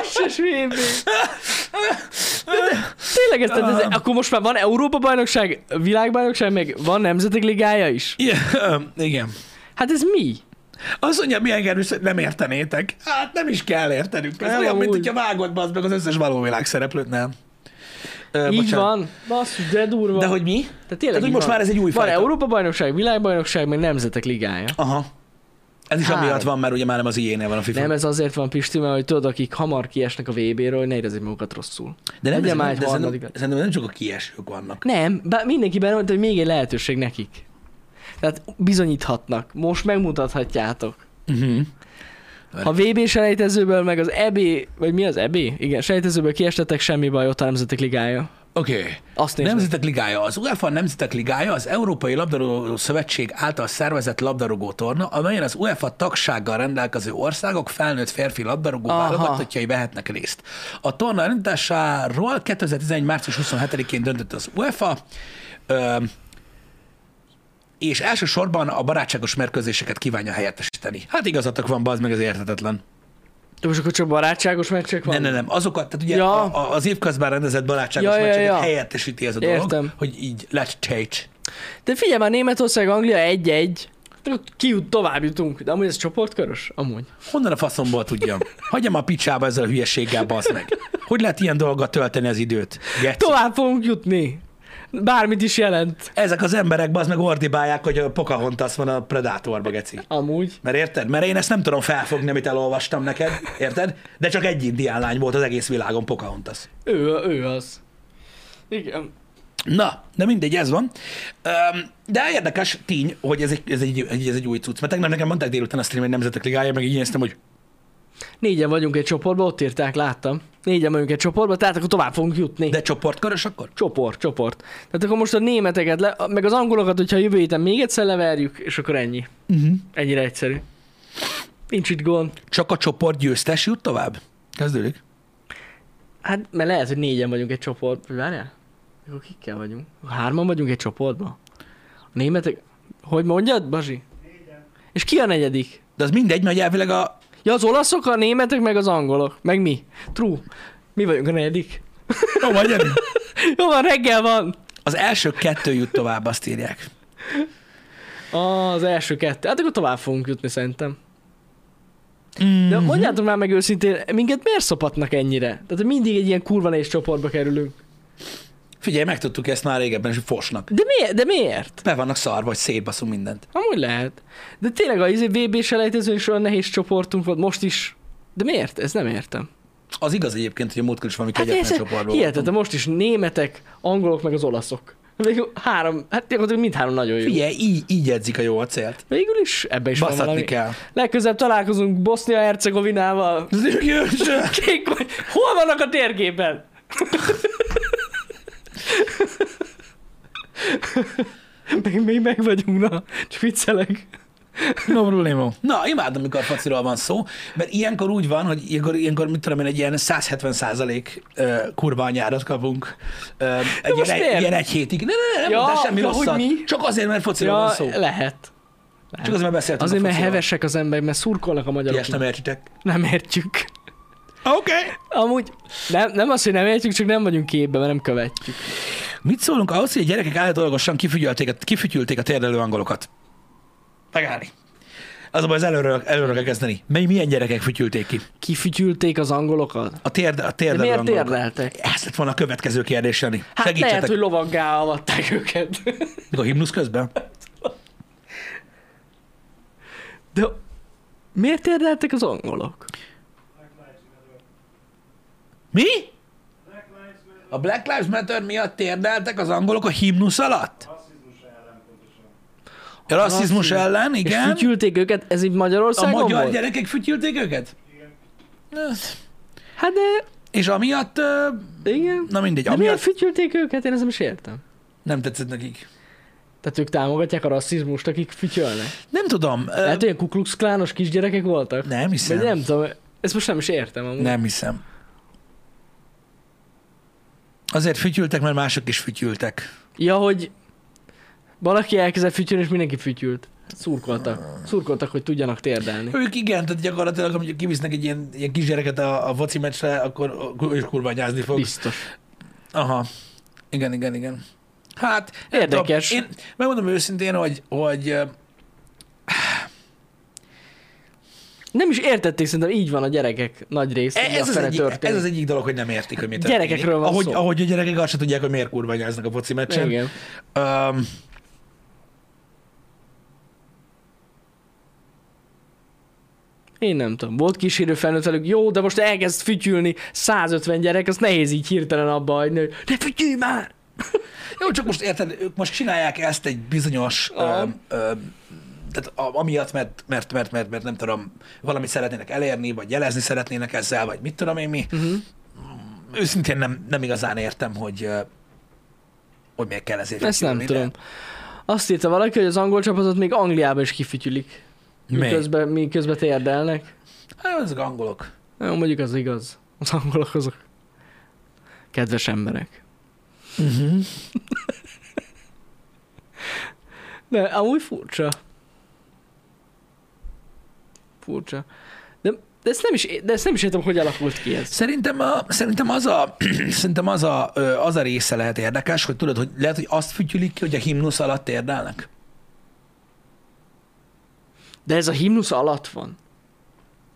vicces VB. Tényleg ez, tehát Ah. ez, akkor most már van Európa-bajnokság, világbajnokság, meg van Nemzetek Ligája is. Ja, öm, igen. Hát ez mi? Azt mondja, milyen gerűs, hogy nem értenétek. Hát nem is kell értenünk. Ez Nem, nem, olyan, mint amúgy. hogyha vágod bazd meg az összes való világ szereplőt, nem? Ö, Így Eh, bocsánat. van. Basszus, de durva. De hogy mi? Tehát tényleg Tehát, hogy így most van. már ez egy új Van fajta. Európa-bajnokság, világbajnokság, meg Nemzetek Ligája. Aha. Ez is Három. amiatt van, mert ugye már nem az ilyenél van a FIFA. Hát. Nem, ez azért van Pisti, mert hogy tudod, akik hamar kiesnek a VB-ről, hogy ne érezzék magukat rosszul. de nem, legyen ez, már egy de szerintem, harmadik. szerintem nem csak a kiesők vannak. Nem, bár mindenki benne volt, hogy még egy lehetőség nekik. Tehát bizonyíthatnak, most megmutathatjátok. Mhm. Uh-huh. Ha VB E selejtezőből, meg az EB, vagy mi az EB? Igen, selejtezőből kiestetek, semmi baj, ott a Nemzetek Ligája. Oké, Oké. Okay. Azt nézd meg. Nemzetek Ligája. Az UEFA Nemzetek Ligája az Európai Labdarúgó Szövetség által szervezett labdarúgó torna, amelyen az UEFA tagsággal rendelkező országok felnőtt férfi labdarúgó Aha. válogatottjai vehetnek részt. A torna rendításáról 2011. március 27-én döntött az UEFA, ö, és elsősorban a barátságos mérkőzéseket kívánja helyettesíteni. Hát igazatok van, bazd meg, ez értetetlen. De most akkor csak barátságos meccsek van? Nem, nem, nem, azokat, tehát ugye Ja. ja. a, a, az évközben rendezett barátságos Ja, ja, ja, meccseket ja, ja. ja. helyettesíti ez a Értem. dolog, hogy így lecsejts. De figyelj már, Németország, Anglia 1-1. Akkor Kijut, tovább jutunk. De amúgy ez csoportkörös? Amúgy. Honnan a faszomból tudjam? Hagyjam a picsába ezzel a hülyeséggel, basz meg. Hogy lehet ilyen dolga tölteni az időt? Geci. Tovább fogunk jutni. Bármit is jelent. Ezek az emberek bazd meg ordibálják, hogy a Pocahontas van a Predatorba, geci. Amúgy. Mert érted? Mert én ezt nem tudom felfogni, amit elolvastam neked, érted? De csak egy indián lány volt az egész világon Pocahontas. Ő, ő az. Igen. Na, de mindegy, ez van. Öm, De érdekes tény, hogy ez egy, ez egy, egy- ez egy új cucc. Mert tegnap nekem mondták délután a streamen Nemzetek Ligája, meg így néztem, hogy Négyen vagyunk egy csoportban, ott írták, láttam. Négyen vagyunk egy csoportban, tehát akkor tovább fogunk jutni. de csoportkörös akkor? Csoport, csoport. Tehát akkor most a németeket, le, meg az angolokat, hogyha jövő héten még egyszer leverjük, és akkor ennyi. Uh-huh. Ennyire egyszerű. Nincs itt gond. Csak a csoport győztes jut tovább? Kezdődik. Hát, mert lehet, hogy négyen vagyunk egy csoport. Vagy Várjál? Akkor kikkel vagyunk? Hárman vagyunk egy csoportban? A németek... Hogy mondjad, Bazsi? És ki a negyedik? De az mindegy, mert elvileg a... Ja, az olaszok, a németek, meg az angolok. Meg mi? True. Mi vagyunk a negyedik? Jó, vagy Jani? Jó van, reggel van. Az első kettő jut tovább, azt írják. Az első kettő. Hát akkor tovább fogunk jutni szerintem. Mm. De uh-huh. mondjátok már meg őszintén, minket miért szopatnak ennyire? Tehát mindig egy ilyen kurva nehéz csoportba kerülünk. Figyelj, megtudtuk ezt már régebben, és fosnak. De miért? De miért? Be vannak szarva, hogy szétbaszunk mindent. Amúgy lehet. De tényleg a izé VB selejtezőn is olyan nehéz csoportunk volt most is. De miért? Ez nem értem. Az igaz egyébként, hogy a múltkor is valami Hát kegyetlen ez- csoportban Hihetetlen, most is németek, angolok, meg az olaszok. Végül három, hát gyakorlatilag mindhárom nagyon jó. Figyelj, így, így edzik a jó a célt. Végül is ebbe is van Baszatni valami. kell. Legközelebb találkozunk Bosznia-Hercegovinával. Kék, hol vannak a térképen? még, még meg vagyunk, na. Csak viccelek. No problemo. Na, imádom, mikor faciról van szó, mert ilyenkor úgy van, hogy ilyenkor, ilyenkor mit tudom én, egy ilyen 170 százalék kurva anyárat kapunk. Ö, egy, most ilyen, miért? egy ilyen egy hétig. Ne, ne, ne, nem Ja, mondtál semmi ja, hogy rosszat. mi? Csak azért, mert fociról Ja, van szó. lehet. Csak azért, mert beszéltünk Azért, a mert fociról. hevesek az emberek, mert szurkolnak a magyarok. Ilyes nem értitek. nem értjük. Oké. Okay. Amúgy nem, nem az, hogy nem értjük, csak nem vagyunk képben, mert nem követjük. Mit szólunk ahhoz, hogy a gyerekek állítólagosan kifütyülték, a- kifütyülték a térdelő angolokat? Megállni. Az a baj, az előről, előről kell kezdeni. Mely, milyen gyerekek fütyülték ki? Kifütyülték az angolokat. A, térd, a De térdelő miért angolokat. térdeltek? Ez lett volna a következő kérdés, Jani. Hát Segítsetek. lehet, hogy lovaggá avatták őket. Mikor himnusz közben? De miért térdeltek az angolok? Mi? A Black Lives Matter miatt térdeltek az angolok a himnusz alatt? A Rasszizmus Rasszizmus. ellen, És igen. fütyülték őket, ez így A Magyarországon magyar volt? gyerekek fütyülték őket? Hát, Hát de, És amiatt, ö, igen. na mindegy, De miért amiatt fütyülték őket? Én ezt nem is értem. nem tetszett nekik. Tehát ők támogatják a rasszizmust, akik fütyölnek. Nem tudom. ö, Lehet, hogy ilyen kukluxklános kisgyerekek voltak? Nem hiszem. Hát, Vagy nem tudom, ezt most nem is értem amúgy. Nem hiszem. Azért fütyültek, mert mások is fütyültek. Ja, hogy valaki elkezdett fütyülni, és mindenki fütyült. Szurkoltak. Szurkoltak, hogy tudjanak térdelni. Ők igen, tehát gyakorlatilag, amikor kivisznek egy ilyen, ilyen kisgyereket a, a voci meccsre, akkor ő is kurványázni fog. Biztos. Aha. Igen, igen, igen. Hát, nem Érdekes. Tudom, én megmondom őszintén, hogy, hogy ö, Nem is értették, szerintem így van a gyerekek nagy része. e- ez, az fele egyik, történik. ez az egyik dolog, hogy nem értik, hogy mi történik. Gyerekekről van ahogy, szó. Ahogy a gyerekek azt se tudják, hogy miért kurványáznak a foci meccsen. Igen. Um, Én nem tudom. Volt kísérő felnőtt velük, jó, de most elkezd fütyülni 150 gyerek, az nehéz így hirtelen abba hagyni, hogy ne fütyülj már! jó, csak most érted, ők most csinálják ezt egy bizonyos... Aha. Um, um, tehát a, amiatt, mert, mert, mert, mert, mert nem tudom, valamit szeretnének elérni, vagy jelezni szeretnének ezzel, vagy mit tudom én mi. Uh-huh. Őszintén nem, nem igazán értem, hogy, ö, hogy miért kell ezért Ezt nem kiülni, de- tudom. Azt írta valaki, hogy az angol csapatot még Angliába is kifütyülik. Mi? Miközben, miközben térdelnek. Hát, azok angolok. Jó, mondjuk az igaz. Az angolok azok. Kedves emberek. Uh-huh. De amúgy furcsa. Furcsa. De, de, ezt nem is, é- de ezt nem is értem, hogy alakult ki ez. Szerintem, a, szerintem, az, a, szerintem az, a, ö, az a része lehet érdekes, hogy tudod, hogy lehet, hogy azt fütyülik ki, hogy a himnusz alatt érdelnek. De ez a himnusz alatt van.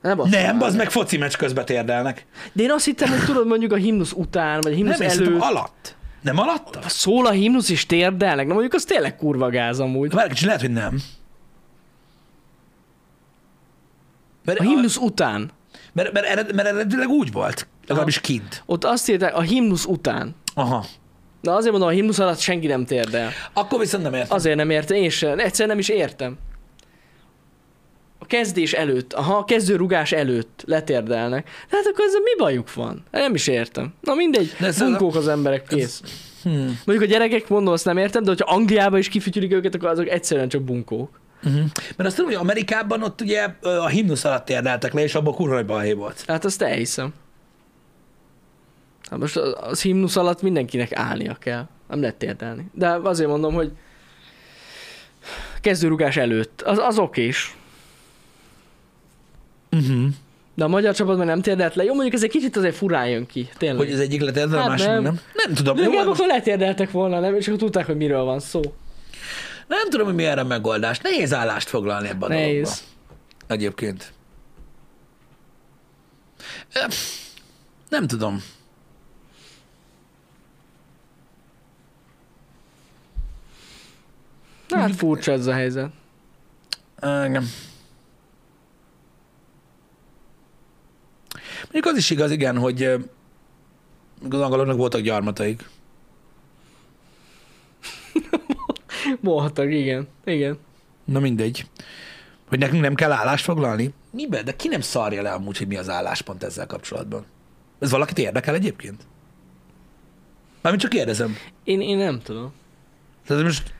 Ne basz. nem, az meg foci meccs közben térdelnek. De én azt hittem, hogy tudod mondjuk a himnusz után, vagy a himnusz Nem, én nem, szerintem előtt. A... alatt. Nem alatta? Szól a himnusz és térdelnek? Na mondjuk az tényleg kurva gáz amúgy. Várj kicsit, lehet, hogy nem. Mert, A himnusz után. mert, mert, ered, mert eredetileg úgy volt, legalábbis kint. Ott azt írták, a himnusz után. Aha. Na azért mondom, a himnusz alatt senki nem térdel. Akkor viszont nem értem. Azért nem értem, én sem. Egyszerűen nem is értem. A kezdés előtt, aha, a kezdőrugás előtt letérdelnek. De hát akkor ezzel mi bajuk van? Hát Nem is értem. Na mindegy, De ez- bunkók az emberek, kész. Hmm. Mondjuk a gyerekek, mondom, azt nem értem, de hogyha Angliába is kifütyülik őket, akkor azok egyszerűen csak bunkók. Uh-huh. Mert azt tudom, hogy Amerikában ott ugye ö, a himnusz alatt érdeltek le, és abból kurva nagy balhé volt. Hát azt elhiszem. Hát most az, az himnusz alatt mindenkinek állnia kell. Nem lehet térdelni. De azért mondom, hogy kezdőrugás előtt. Az, az okés. Mhm. Uh-huh. De a magyar csapatban nem térdelt le. Jó, mondjuk ez egy kicsit azért furán jön ki. Tényleg. Hogy az egyik lett érdelme, Hát a másik nem. nem. nem. Nem tudom. De Jó, inkább most akkor letérdeltek volna, nem? És akkor tudták, hogy miről van szó. nem tudom, hogy mi erre a megoldás. Nehéz állást foglalni ebben a dologban. Nehéz. Egyébként. Ö, Nem tudom. Na, hát furcsa ez a helyzet. Ö, Igen. Mondjuk az is igaz, igen, hogy ö, az angoloknak voltak gyarmataik. Voltak, igen. Igen. Na mindegy. Hogy nekünk nem kell állást foglalni? Miben? De ki nem szarja le amúgy, hogy mi az álláspont ezzel kapcsolatban? Ez valakit érdekel egyébként? Mármint csak kérdezem. Én, én nem tudom. Tehát most,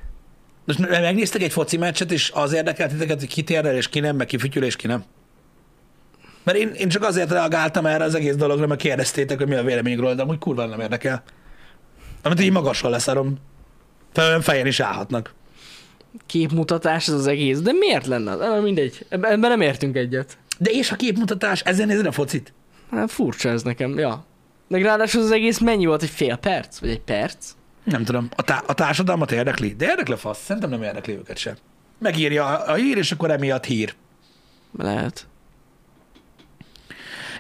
most me- megnéztek egy foci meccset, és az érdekelt titeket, hogy ki térdel, és ki nem, meg ki fütyül, és ki nem? Mert én, én csak azért reagáltam erre az egész dologra, mert kérdeztétek, hogy mi a véleményük róla, de amúgy kurva nem érdekel. Amit így magasra leszarom. Fel- Fejen is állhatnak. Képmutatás ez az egész. De miért lenne az? Na, mindegy. Ebben ebben nem értünk egyet. De és a képmutatás, ezzel nézed a focit? Hát furcsa ez nekem, ja. Meg ráadásul az egész mennyi volt? Egy fél perc? Vagy egy perc? Nem tudom. A, tá- a társadalmat érdekli? De érdekli a fasz. Szerintem nem érdekli őket sem. Megírja a, a hír, és akkor emiatt hír. Lehet.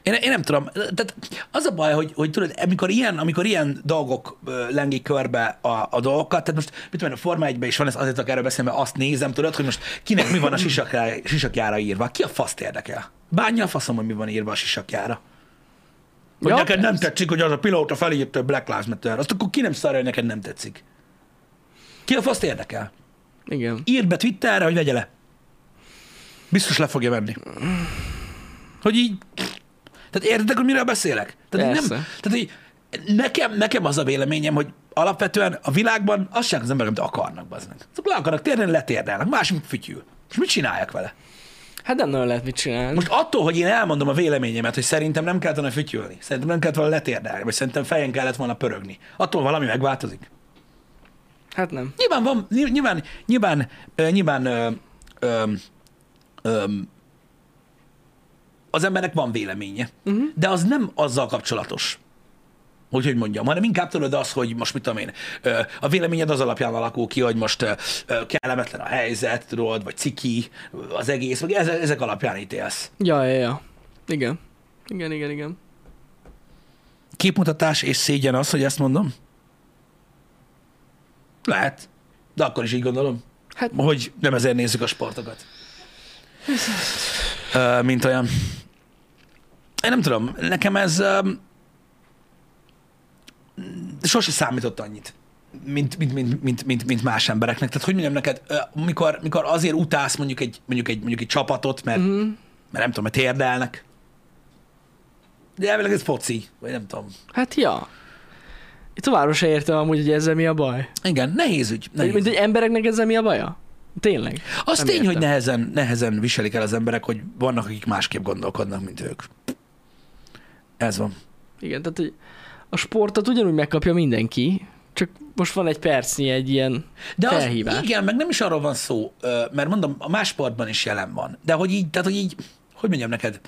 Én, én nem tudom. Tehát az a baj, hogy, hogy tudod, amikor ilyen, amikor ilyen dolgok ö, lengik körbe a, a dolgokat, tehát most mit tudom, én, a Forma 1 is van, ez azért csak erről beszélni, mert azt nézem, tudod, hogy most kinek mi van a sisakjára, sisakjára írva. Ki a faszt érdekel? Bánja a faszom, hogy mi van írva a sisakjára. Hogy Ja, ja, neked nem persze. tetszik, hogy az a pilóta felírta hogy Black Lives Matter. Azt akkor ki nem szarja, hogy neked nem tetszik. Ki a faszt érdekel? Igen. írd be Twitterre, hogy vegye le. Biztos le fogja venni. Hogy így... Tehát értitek, hogy miről beszélek? Tehát így nem, Persze. tehát így, nekem, nekem az a véleményem, hogy alapvetően a világban azt csinálják az emberek, amit akarnak, baznak. Azok le akarnak térni, letérdelnek, másik fütyül. És mit csinálják vele? Hát nem nagyon lehet mit csinálni. Most attól, hogy én elmondom a véleményemet, hogy szerintem nem kellett volna fütyülni, szerintem nem kellett volna letérdelni, vagy szerintem fejen kellett volna pörögni, attól valami megváltozik. Hát nem. Nyilván van, ny- nyilván, nyilván, ö, nyilván ö, ö, ö, az embernek van véleménye, uh-huh. de az nem azzal kapcsolatos. Hogy hogy mondjam, hanem inkább tudod az, hogy most mit tudom én, ö, a véleményed az alapján alakul ki, hogy most ö, ö, kellemetlen a helyzet, tudod, vagy ciki, ö, az egész, meg ezek, ezek alapján ítélsz. Ja, ja, ja. Igen. Igen, igen, igen. Képmutatás és szégyen az, hogy ezt mondom? Lehet. De akkor is így gondolom. Hát hogy nem ezért nézzük a sportokat. Ö, Mint olyan. Én nem tudom, nekem ez öm, sose számított annyit, mint, mint, mint, mint, mint, mint más embereknek. Tehát hogy mondjam neked, ö, mikor, mikor azért utálsz mondjuk egy, mondjuk egy, mondjuk egy csapatot, mert, mm. mert nem tudom, mert érdelnek. De elvileg ez foci, vagy nem tudom. Hát ja. Továbbra se értem amúgy, hogy ezzel mi a baj. Igen, nehéz ügy. Hogy, mint, Nehéz. hogy embereknek ezzel mi a baja? Tényleg. Az nem tény, értem. hogy nehezen, nehezen viselik el az emberek, hogy vannak, akik másképp gondolkodnak, mint ők. Ez van. Igen, tehát hogy a sportot ugyanúgy megkapja mindenki, csak most van egy percnyi egy ilyen De az, felhívás. igen, meg nem is arról van szó, ö, mert mondom, a más sportban is jelen van. De hogy így, tehát hogy így, hogy mondjam neked,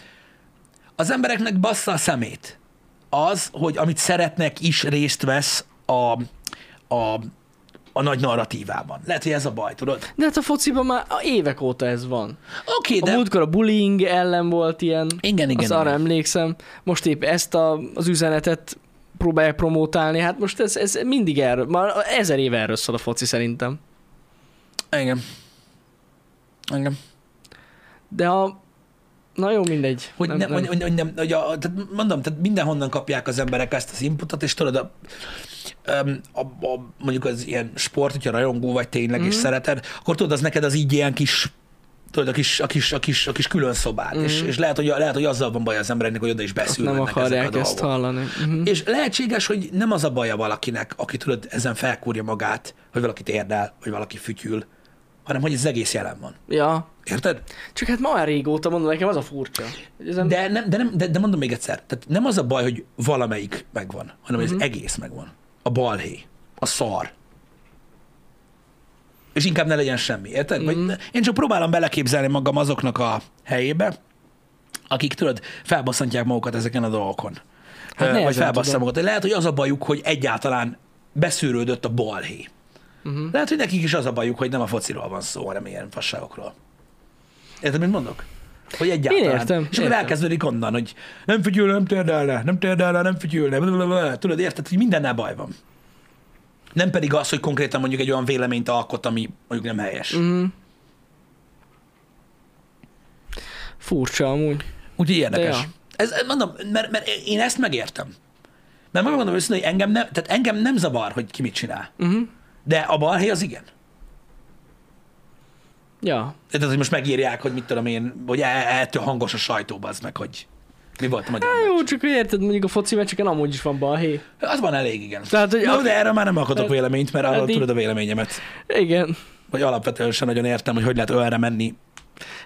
az embereknek bassza a szemét az, hogy amit szeretnek, is részt vesz a, a, a nagy narratívában. Lehet, hogy ez a baj, tudod? De hát a fociban már évek óta ez van. Oké, A de... múltkor a bullying ellen volt ilyen, Igen, igen. azt arra igen. emlékszem. Most épp ezt a, az üzenetet próbálják promotálni, hát most ez, ez mindig erről, már ezer éve erről szól a foci szerintem. Igen. Igen. De a... Na jó, mindegy. Hogy nem, nem, Hogy, hogy, hogy nem hogy a, tehát mondom, tehát mindenhonnan kapják az emberek ezt az inputot, és tudod, a, öm, a, a, mondjuk az ilyen sport, hogyha rajongó vagy tényleg, Mhm. mm-hmm. és szereted, akkor tudod, az neked az így ilyen kis tudod, a kis, a kis, a kis, a kis külön szobád, mm-hmm. és, és lehet, hogy, lehet, hogy azzal van baj az embereknek, hogy oda is Mhm. Azt nem beszűrődnek ezek akarják a ezt dolgok. hallani. Uh-huh. És lehetséges, hogy nem az a baja valakinek, aki tudod, ezen felkúrja magát, hogy valakit érdel, hogy valaki fütyül, hanem hogy ez egész jelen van. Ja. Érted? Csak hát ma már régóta mondom, nekem az a furcsa. Hogy Ezen... De, nem, de, nem, de, de mondom még egyszer, tehát nem az a baj, hogy valamelyik megvan, hanem hogy az egész megvan. A balhé, a szar. És inkább ne legyen semmi, érted? Vagy ne- én csak próbálom beleképzelni magam azoknak a helyébe, akik, tudod, felbosszantják magukat ezeken a dolgokon. Hát Ö, nehezen Vagy felbasszák tudom. magukat. Lehet, hogy az a bajuk, hogy egyáltalán beszűrődött a balhé. Uh-huh. Lehet, hogy nekik is az a bajuk, hogy nem a fociról van szó, hanem ilyen fasságokról. Érted, mit mondok? Hogy egyáltalán. Én értem, És akkor értem. elkezdődik onnan, hogy nem figyül, nem térdelne, nem térdelne, nem figyülne, blablabla. tudod, érted, hogy mindennel baj van. Nem pedig az, hogy konkrétan mondjuk egy olyan véleményt alkot, ami mondjuk nem helyes. Mm. Mhm. Furcsa amúgy. Úgyhogy érdekes. Ja. Ez, mondom, mert, mert én ezt megértem. Mert megmondom őszintén, hogy engem nem, tehát engem nem zavar, hogy ki mit csinál. Uh-huh. De a balhé az igen. Ja. Tehát, hogy most megírják, hogy mit tudom én, hogy e- ettől hangos a sajtó, az meg, hogy mi volt a magyar. Há, jó, csak hogy érted, mondjuk a foci meccseken amúgy is van balhé. Az van elég, igen. Tehát, hogy Na, a- de erre már nem alkotok Tehát- véleményt, mert arról eddig- tudod a véleményemet. Igen, Vagy alapvetően sem nagyon értem, hogy hogy lehet olyanra menni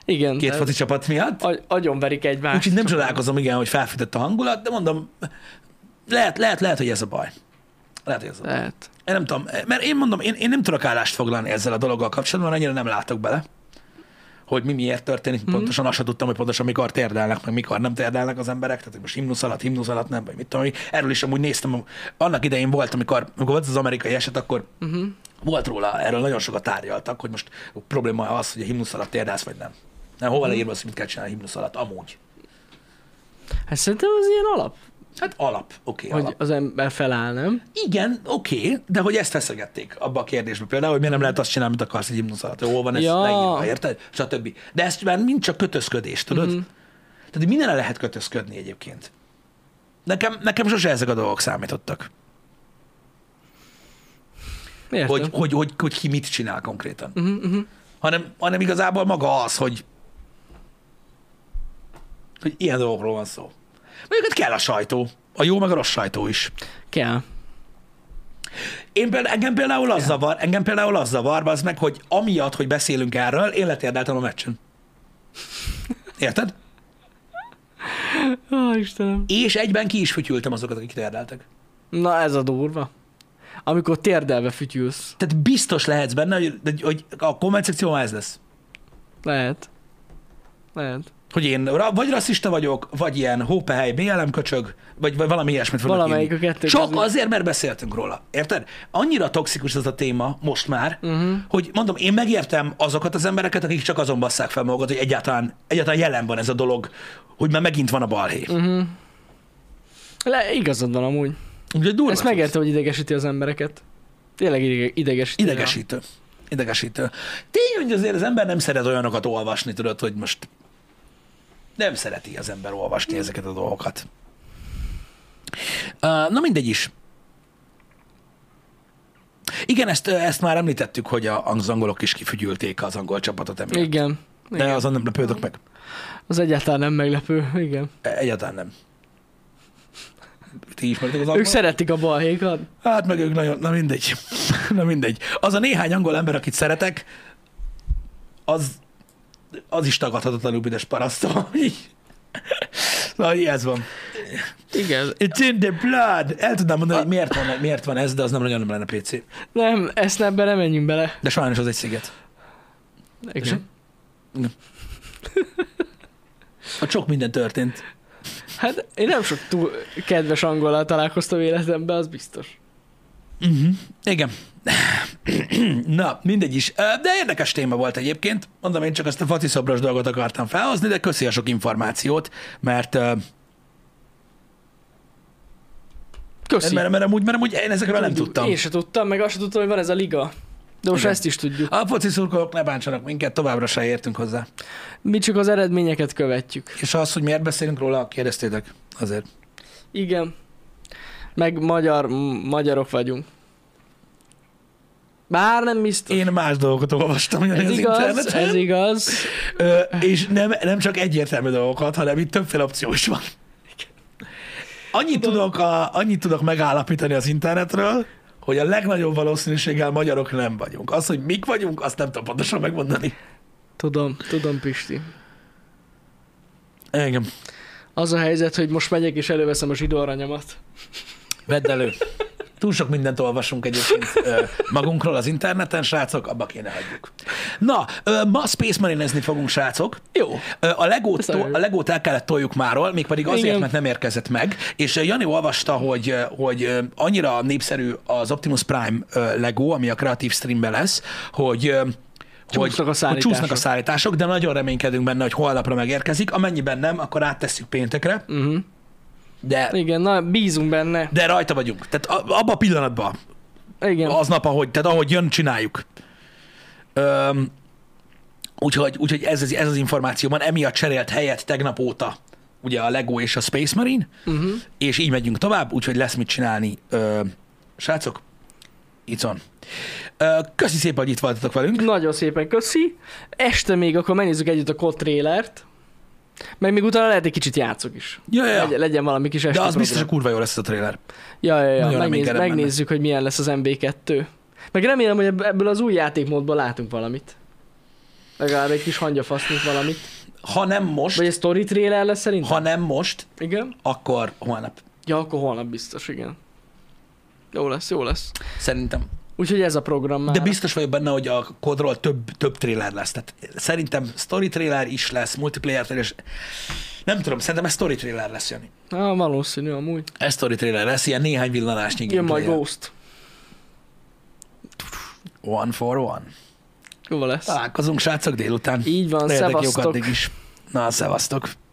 igen. két Tehát foci csapat miatt. agy- agyonverik egymást. Úgyhogy nem csodálkozom, igen, hogy felfűtött a hangulat, de mondom, lehet, lehet, lehet, hogy ez a baj. Lehet, hogy ez a baj. Lehet. Én nem tudom, mert én mondom, én, én nem tudok állást foglalni ezzel a dologgal kapcsolatban, annyira nem látok bele, hogy mi miért történik, mm. pontosan azt sem tudtam, hogy pontosan mikor térdelnek, meg mikor nem térdelnek az emberek, tehát hogy most himnusz alatt, himnusz alatt nem, vagy mit tudom, én. erről is amúgy néztem, annak idején volt, amikor, amikor volt az amerikai eset, akkor mm-hmm. volt róla, erről nagyon sokat tárgyaltak, hogy most a probléma az, hogy a himnusz alatt térdelsz, vagy nem. Nem, hova leírva az, hogy mit kell csinálni a himnusz alatt, amúgy. Hát szerintem az ilyen alap, Hát alap, oké, okay, hogy alap. az ember feláll, nem? Igen, oké, okay, de hogy ezt feszegették abba a kérdésbe például, hogy miért nem lehet azt csinálni, amit akarsz egy himnusz alatt. Hol van ez Ja. ja. leírva, érted? Stb. De ezt már mind csak kötözködés, tudod? Mhm. Mm-hmm. Tehát mindenre lehet kötözködni egyébként. Nekem, nekem sose ezek a dolgok számítottak. Értem. Hogy, hogy, hogy, hogy ki mit csinál konkrétan. Mm. Uh-huh, uh-huh. Hanem, hanem igazából maga az, hogy, hogy ilyen dolgokról van szó. Mondjuk ott kell a sajtó. A jó meg a rossz sajtó is. Kell. Én például, engem például az zavar, engem például az zavar, az meg, hogy amiatt, hogy beszélünk erről, én letérdeltem a meccsen. Érted? Ó, Istenem. És egyben ki is fütyültem azokat, akik térdeltek. Na ez a durva. Amikor térdelve fütyülsz. Tehát biztos lehetsz benne, hogy, hogy- hogy a komment szekció ez lesz. Lehet. Lehet. Hogy én ra- vagy rasszista vagyok, vagy ilyen hópehely, BLM köcsög, vagy, vagy valami ilyesmit fognak Valamelyik írni. a kettő Csak közül. azért, mert beszéltünk róla. Érted? Annyira toxikus ez a téma most már, Uh-huh. hogy mondom, én megértem azokat az embereket, akik csak azon basszák fel magukat, hogy egyáltalán, egyáltalán jelen van ez a dolog, hogy már megint van a balhé. Uh-huh. Le, igazad van amúgy. Ugye durva. Ezt megértem, hogy idegesíti az embereket. Tényleg ide- idegesíti. Idegesítő. Idegesítő. Tény, hogy azért az ember nem szeret olyanokat olvasni, tudod, hogy most nem szereti az ember olvasni ezeket a dolgokat. Uh, na mindegy is. Igen, ezt, ö, ezt már említettük, hogy a, az angolok is kifügyülték az angol csapatot emiatt. Igen. De Igen. azon nem lepődök meg. Az egyáltalán nem meglepő. Igen. Egyáltalán nem. ti ismeritek az Ők angol? szeretik a balhékat. Hát meg ők nagyon, na mindegy. na mindegy. Az a néhány angol ember, akit szeretek, az, az is tagadhatatlanul büdös parasztom. Na, így ez van. Igen. It's in the blood! El tudnám mondani, hogy miért van, miért van ez, de az nem nagyon lenne PC. Nem, ezt nem bele, menjünk bele. De sajnos az egy sziget. Igen. A sok minden történt. Hát én nem sok túl kedves angolal találkoztam életemben, az biztos. Uh-huh. Igen. Na, mindegy is. Ö, De érdekes téma volt egyébként. Mondom, én csak ezt a faci szobros dolgot akartam felhozni, de köszi a sok információt, mert ö, Köszi. Mert, mert, amúgy, mert amúgy én ezekről nem tudtam. Én se tudtam, meg azt se tudtam, hogy van ez a liga. De most Igen. ezt is tudjuk. A foci szurkolók ne bántsanak minket, továbbra se értünk hozzá. Mi csak az eredményeket követjük. És az, hogy miért beszélünk róla, kérdeztétek. Azért. Igen. Meg magyar, m- magyarok vagyunk. Bár nem biztos. Én más dolgokat olvastam ugyanez ez az igaz, interneten. ez igaz. Ö, és nem, nem csak egyértelmű dolgokat, hanem itt többféle opció is van. Annyit tudok, a, annyit tudok megállapítani az internetről, hogy a legnagyobb valószínűséggel magyarok nem vagyunk. Az, hogy mik vagyunk, azt nem tudom pontosan megmondani. Tudom, tudom, Pisti. Engem. Az a helyzet, hogy most megyek és előveszem a zsidó aranyamat. Vedd elő. Túl sok mindent olvasunk egyébként ö, magunkról az interneten, srácok, abba kéne hagyjuk. Na, ö, ma Space Marinezni fogunk, srácok. Jó. Ö, A legót, Köszönöm. a legót el kellett toljuk máról, mégpedig azért, Igen. mert nem érkezett meg. És ö, Jani olvasta, hogy, ö, hogy ö, annyira népszerű az Optimus Prime ö, legó, ami a kreatív streamben lesz, hogy ö, hogy, Csúsznak a hogy csúsznak a szállítások. szállítások, de nagyon reménykedünk benne, hogy holnapra megérkezik. Amennyiben nem, akkor áttesszük péntekre, Uh-huh. de, Igen, na, bízunk benne. de rajta vagyunk. Tehát a- abban a pillanatban, Igen. aznap, ahogy, tehát ahogy jön, csináljuk. Öm, úgyhogy úgyhogy ez, az- ez az információ van, emiatt cserélt helyet tegnap óta ugye a Lego és a Space Marine, Uh-huh. és így megyünk tovább, úgyhogy lesz mit csinálni. Ö, srácok, itt van. Ö, köszi szépen, hogy itt voltatok velünk. Nagyon szépen köszi. Este még akkor megnézzük együtt a COD trélert. Meg még utána lehet egy kicsit játszok is. Ja, ja, Legyen, ja. legyen valami kis este De az program. biztos, hogy kurva jó lesz ez a trailer. Ja, ja, ja. nagyon Megnéz, reménykedem megnézzük, hogy milyen lesz az MB2. Meg remélem, hogy ebb- ebből az új játékmódból látunk valamit. Legalább egy kis hangyafasznit valamit. Ha nem Vagy most, egy story trailer lesz szerintem? ha nem most, Igen? akkor holnap. Ja, akkor holnap biztos, igen. Jó lesz, jó lesz. Szerintem. Úgyhogy ez a program már. De biztos vagyok benne, hogy a kodról több, több trailer lesz. Tehát szerintem story trailer is lesz, multiplayer trailer is. Nem tudom, szerintem ez story trailer lesz, Jani. Á, valószínű amúgy. Ez story trailer lesz, ilyen néhány villanásnyi Jön majd gameplayer. Ghost. One for one. Jó lesz. Találkozunk, srácok, délután. Így van, Legyetek jók szevasztok. addig is. Na, szevasztok.